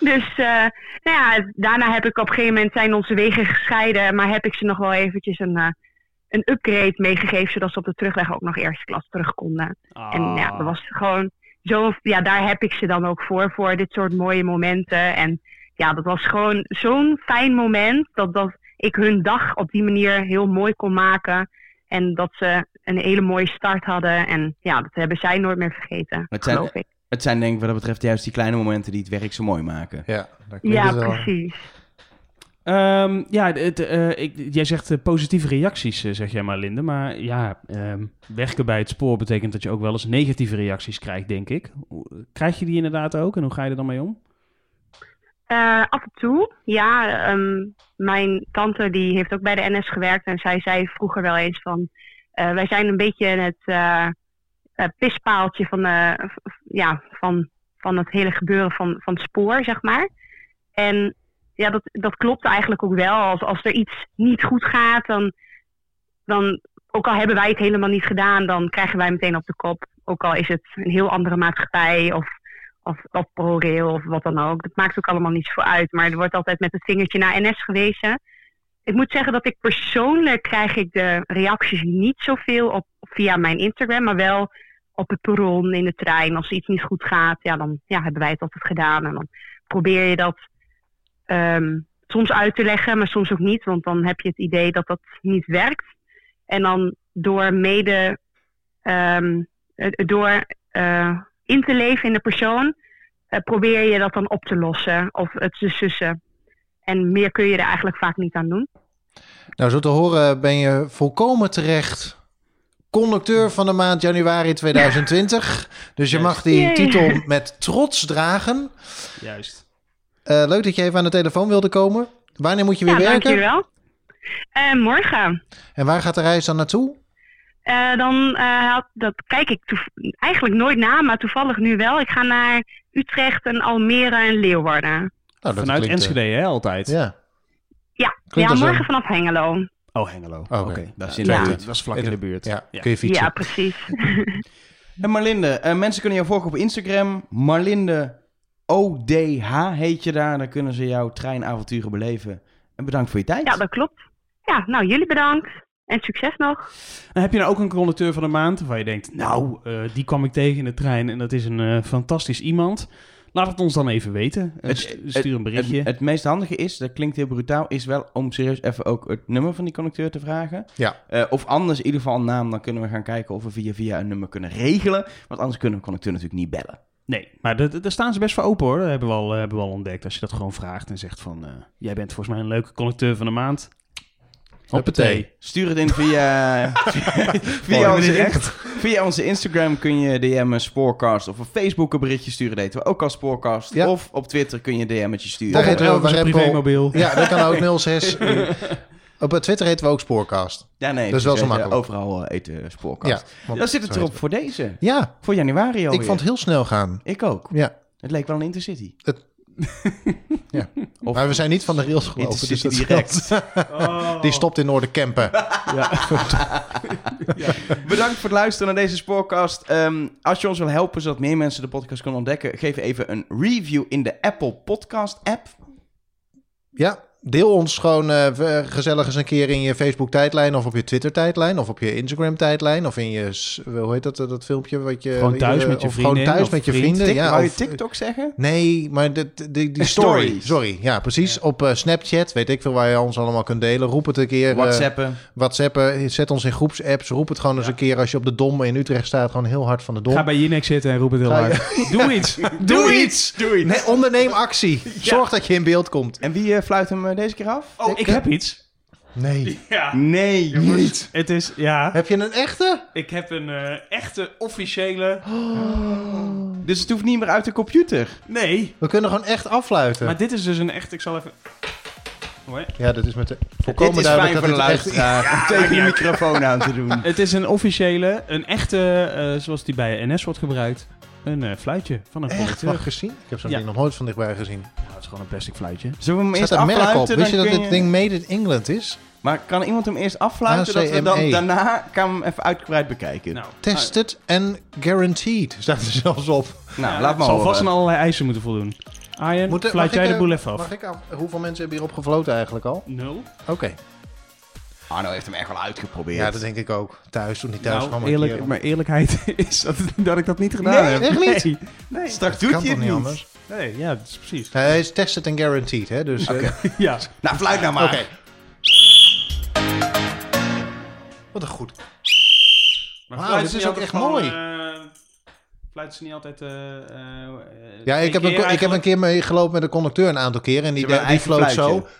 Speaker 4: dus eh, nou ja, daarna heb ik op een gegeven moment zijn onze wegen gescheiden, maar heb ik ze nog wel eventjes een, eh, een upgrade meegegeven, zodat ze op de terugweg ook nog eerste klas terug konden. En
Speaker 1: Ah.
Speaker 4: ja, dat was gewoon zo, ja, daar heb ik ze dan ook voor, voor dit soort mooie momenten. En ja, dat was gewoon zo'n fijn moment dat, dat ik hun dag op die manier heel mooi kon maken. En dat ze een hele mooie start hadden. En ja, dat hebben zij nooit meer vergeten,
Speaker 2: het zijn-
Speaker 4: geloof ik.
Speaker 2: Het zijn denk ik wat dat betreft juist die kleine momenten die het werk zo mooi maken.
Speaker 3: Ja, daar klinkt
Speaker 4: Ja,
Speaker 3: het wel.
Speaker 4: precies.
Speaker 1: Ehm, ja, het, eh, ik, jij zegt eh, positieve reacties, eh, zeg jij maar, Linde. Maar ja, ehm, werken bij het spoor betekent dat je ook wel eens negatieve reacties krijgt, denk ik. Hoe- Krijg je die inderdaad ook en hoe ga je er dan mee om?
Speaker 4: Eh, af en toe, ja. ehm, mijn tante die heeft ook bij de NS gewerkt en zij zei vroeger wel eens van... eh, wij zijn een beetje het eh, eh, pispaaltje van, eh, v- v- ja, van, van het hele gebeuren van, van het spoor, zeg maar. En ja, dat, dat klopt eigenlijk ook wel. Als, als er iets niet goed gaat, dan, dan... Ook al hebben wij het helemaal niet gedaan, dan krijgen wij meteen op de kop. Ook al is het een heel andere maatschappij of of, of ProRail of wat dan ook. Dat maakt ook allemaal niet zoveel uit. Maar er wordt altijd met het vingertje naar NS gewezen. Ik moet zeggen dat ik persoonlijk krijg ik de reacties niet zoveel op, via mijn Instagram. Maar wel op het perron, in de trein. Als iets niet goed gaat, ja, dan ja, hebben wij het altijd gedaan. En dan probeer je dat ehm, soms uit te leggen, maar soms ook niet. Want dan heb je het idee dat dat niet werkt. En dan door mede... ehm, eh, door... eh, in te leven in de persoon, eh, probeer je dat dan op te lossen of het te sussen. En meer kun je er eigenlijk vaak niet aan doen.
Speaker 3: Nou, zo te horen ben je volkomen terecht conducteur van de maand januari 2020. Dus je mag die
Speaker 4: Yay.
Speaker 3: titel met trots dragen.
Speaker 1: Juist.
Speaker 3: Eh, leuk dat je even aan de telefoon wilde komen. Wanneer moet je weer
Speaker 4: ja,
Speaker 3: werken?
Speaker 4: dankjewel. Eh, morgen,
Speaker 3: En waar gaat de reis dan naartoe?
Speaker 4: eh, dan eh, had- dat kijk ik toe- eigenlijk nooit na, maar toevallig nu wel. Ik ga naar Utrecht en Almere en Leeuwarden.
Speaker 3: Nou,
Speaker 1: Vanuit
Speaker 3: klinkt, eh,
Speaker 1: Enschede, hè, altijd.
Speaker 3: ja.
Speaker 4: Ja,
Speaker 3: Klinkt
Speaker 4: ja
Speaker 3: als
Speaker 4: morgen
Speaker 3: een-
Speaker 4: vanaf Hengelo.
Speaker 1: Oh, Hengelo.
Speaker 3: Oké.
Speaker 2: Dat is
Speaker 4: Ja.
Speaker 2: inderdaad.
Speaker 4: Ja.
Speaker 2: Dat is vlak in de buurt.
Speaker 3: Ja,
Speaker 1: Ja.
Speaker 3: kun je fietsen.
Speaker 4: Ja, precies.
Speaker 2: En Marlinde, eh, mensen kunnen jou volgen op Instagram. Marlinde ODH heet je daar. Dan kunnen ze jouw treinavonturen beleven. En bedankt voor je tijd.
Speaker 4: Ja, dat klopt. Ja, nou jullie bedankt. En succes nog.
Speaker 1: En heb je nou ook een conducteur van de maand waar je denkt, nou, eh, die kwam ik tegen in de trein en dat is een eh, fantastisch iemand. Laat het ons dan even weten. Eh,
Speaker 2: Het-
Speaker 1: st- Stuur een berichtje.
Speaker 2: Het, het meest handige is, dat klinkt heel brutaal, is wel om serieus even ook het nummer van die conducteur te vragen.
Speaker 3: Ja.
Speaker 2: Eh, of anders in ieder geval een naam, dan kunnen we gaan kijken of we via via een nummer kunnen regelen. Want anders kunnen we conducteur natuurlijk niet bellen.
Speaker 1: Nee, maar dat- dat- daar staan ze best voor open hoor. Dat hebben we al, eh, hebben we al ontdekt. Als je dat gewoon vraagt en zegt van... eh, jij bent volgens mij een leuke conducteur van de maand.
Speaker 3: Hoppatee.
Speaker 2: Stuur het in via,
Speaker 3: Oh,
Speaker 2: via,
Speaker 3: ik
Speaker 2: onze,
Speaker 3: ben
Speaker 2: via onze Instagram kun je DM een Spoorcast of op Facebook een berichtje sturen. Dat heten we ook als Spoorcast.
Speaker 3: Ja.
Speaker 2: Of op Twitter kun je een DM'tje sturen.
Speaker 3: Daar
Speaker 1: Of
Speaker 3: heet
Speaker 1: Elvis
Speaker 3: Elvis
Speaker 1: een
Speaker 3: Apple.
Speaker 1: privémobiel.
Speaker 3: Ja, dat kan ook 06. Eh, Oké, Op Twitter heten we ook Spoorcast.
Speaker 2: Ja, nee.
Speaker 3: Dat is wel
Speaker 2: precies,
Speaker 3: zo
Speaker 2: eh,
Speaker 3: makkelijk.
Speaker 2: Overal eh, eten spoorkast.
Speaker 3: Ja,
Speaker 2: Dan
Speaker 3: want-
Speaker 2: Nou, zit het
Speaker 3: zo
Speaker 2: erop voor deze.
Speaker 3: ja
Speaker 2: Voor januari alweer.
Speaker 3: ik vond het heel snel gaan.
Speaker 2: Ik ook.
Speaker 3: Ja.
Speaker 2: Het leek wel een Intercity.
Speaker 3: Maar we zijn niet van de rails gelopen. Dus
Speaker 2: Intercity
Speaker 3: dat
Speaker 2: direct.
Speaker 1: Oh.
Speaker 3: geldt. Die stopt in Noorderkempen.
Speaker 2: Bedankt voor het luisteren naar deze spoorcast. Ehm, als je ons wil helpen zodat meer mensen de podcast kunnen ontdekken, geef even een review in de Apple Podcast app.
Speaker 3: Ja, deel ons gewoon eh, gezellig eens een keer in je Facebook-tijdlijn... of op je Twitter-tijdlijn of op je Instagram-tijdlijn... of in je, s- hoe heet dat, eh, dat filmpje? Wat je,
Speaker 1: Gewoon thuis
Speaker 3: eh,
Speaker 1: met je
Speaker 3: of gewoon
Speaker 1: vriendin
Speaker 3: thuis
Speaker 1: of
Speaker 3: met je
Speaker 1: vriend.
Speaker 3: vrienden.
Speaker 2: Tik,
Speaker 3: ja,
Speaker 2: wou je
Speaker 3: of- eh,
Speaker 2: TikTok zeggen?
Speaker 3: Nee, maar de, de- die, die story.
Speaker 2: Stories.
Speaker 3: Sorry, ja, precies. Op eh, Snapchat, weet ik veel waar je ons allemaal kunt delen. Roep het een keer. eh,
Speaker 2: WhatsAppen.
Speaker 3: WhatsAppen, zet ons in groepsapps. Roep het gewoon eens een keer als je op de Dom in Utrecht staat. Gewoon heel hard van de Dom.
Speaker 1: Ga bij Jinek zitten en roep het heel
Speaker 3: Ga je-
Speaker 1: hard. Doe iets. Doe, iets.
Speaker 2: Doei.
Speaker 3: Nee, onderneem actie. Zorg dat je in beeld komt.
Speaker 2: En wie eh, fluit hem eh, deze keer af?
Speaker 1: Oh, ik heb iets.
Speaker 3: Nee.
Speaker 1: Ja.
Speaker 2: Nee, niet.
Speaker 1: Het is, ja.
Speaker 3: Heb je een echte?
Speaker 1: Ik heb een eh, echte officiële...
Speaker 2: Dus het hoeft niet meer uit de computer.
Speaker 1: Nee.
Speaker 3: We kunnen gewoon echt afluiten.
Speaker 1: Maar dit is dus een echt... Ik zal even... Hoi.
Speaker 3: Ja, dat is met de
Speaker 2: Dit
Speaker 3: volkomen
Speaker 2: is
Speaker 3: duidelijk
Speaker 2: fijn
Speaker 3: dat
Speaker 2: voor de
Speaker 3: het echt...
Speaker 2: luisteraar. om eh, tegen de microfoon aan te doen.
Speaker 1: Het is een officiële, een echte, eh, zoals die bij NS wordt gebruikt, een eh, fluitje van een
Speaker 3: Echt?
Speaker 1: conducteur.
Speaker 3: Mag gezien? Ik heb zo'n
Speaker 1: Ja.
Speaker 3: ding nog nooit van dichtbij gezien.
Speaker 1: Nou, het is gewoon een plastic fluitje.
Speaker 2: Zullen we hem
Speaker 3: Er
Speaker 2: eerst
Speaker 3: staat een merk op.
Speaker 2: afluiten?
Speaker 3: Wist je
Speaker 2: dan
Speaker 3: dat
Speaker 2: kun
Speaker 3: dit ding made in England is?
Speaker 2: Maar kan iemand hem eerst afluiten? Dat we dan
Speaker 3: ACME.
Speaker 2: daarna kan hem even uitgebreid bekijken. Nou,
Speaker 1: Nou,
Speaker 3: Tested and guaranteed, staat er zelfs op.
Speaker 1: ja,
Speaker 2: Nou, laat
Speaker 1: het
Speaker 2: maar
Speaker 1: zal
Speaker 2: horen.
Speaker 1: vast aan allerlei eisen moeten voldoen. Arjen,
Speaker 3: Moet er-
Speaker 1: fluit
Speaker 3: mag
Speaker 1: jij
Speaker 3: ik,
Speaker 1: de
Speaker 3: eh,
Speaker 1: boel even af.
Speaker 3: Mag ik af? Hoeveel mensen hebben hierop gefloten eigenlijk al?
Speaker 1: Nul.
Speaker 3: Oké.
Speaker 2: Arno heeft hem echt wel uitgeprobeerd.
Speaker 3: Ja, dat denk ik ook. Thuis, toen niet thuis kwam
Speaker 1: Nou,
Speaker 3: een
Speaker 1: eerlijk,
Speaker 3: keer om.
Speaker 1: mijn eerlijkheid is dat, dat ik dat niet gedaan
Speaker 2: Nee,
Speaker 1: heb.
Speaker 3: echt niet?
Speaker 1: Nee,
Speaker 2: Straks
Speaker 3: Kan
Speaker 2: doet
Speaker 3: toch
Speaker 2: hij het
Speaker 3: niet
Speaker 2: niet.
Speaker 3: anders?
Speaker 1: nee, ja, dat is precies.
Speaker 3: Nee, Hij is tested and guaranteed, hè? Dus, eh,
Speaker 1: Ja.
Speaker 2: Nou, fluit nou maar.
Speaker 3: Oké. Wat een goed.
Speaker 1: Maar
Speaker 3: Wauw,
Speaker 1: fluit
Speaker 3: dit is
Speaker 1: niet
Speaker 3: ook echt
Speaker 1: altijd
Speaker 3: mooi.
Speaker 1: gewoon, eh, fluit is niet altijd... eh, eh,
Speaker 3: Ja,
Speaker 1: één
Speaker 3: ik heb, een,
Speaker 1: keer
Speaker 3: ko- ik heb een
Speaker 1: eigenlijk.
Speaker 3: keer mee gelopen met een conducteur een aantal keer. En die,
Speaker 2: Ze hebben
Speaker 3: die,
Speaker 2: een
Speaker 3: die
Speaker 2: eigen
Speaker 3: floot zo.
Speaker 2: fluitje.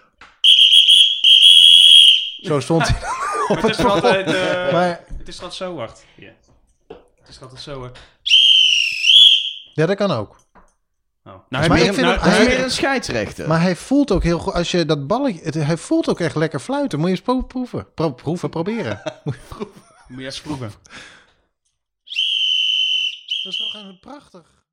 Speaker 3: Zo stond hij.
Speaker 1: Maar het is er altijd... eh,
Speaker 3: Maar
Speaker 1: Het is dat zo, wacht. Ja. Het is dat zo, wacht.
Speaker 3: ja, dat kan ook.
Speaker 1: Oh.
Speaker 3: heb
Speaker 2: Maar
Speaker 3: je-
Speaker 2: ik vind
Speaker 3: nou,
Speaker 2: hem- hij
Speaker 3: hij-
Speaker 2: is meer een scheidsrechter.
Speaker 3: Maar hij voelt ook heel goed. Als je dat balletje. het- hij voelt ook echt lekker fluiten. Moet je eens pro- proeven. Pro- proeven, proberen.
Speaker 1: Moet je even proeven.
Speaker 3: dat is toch prachtig.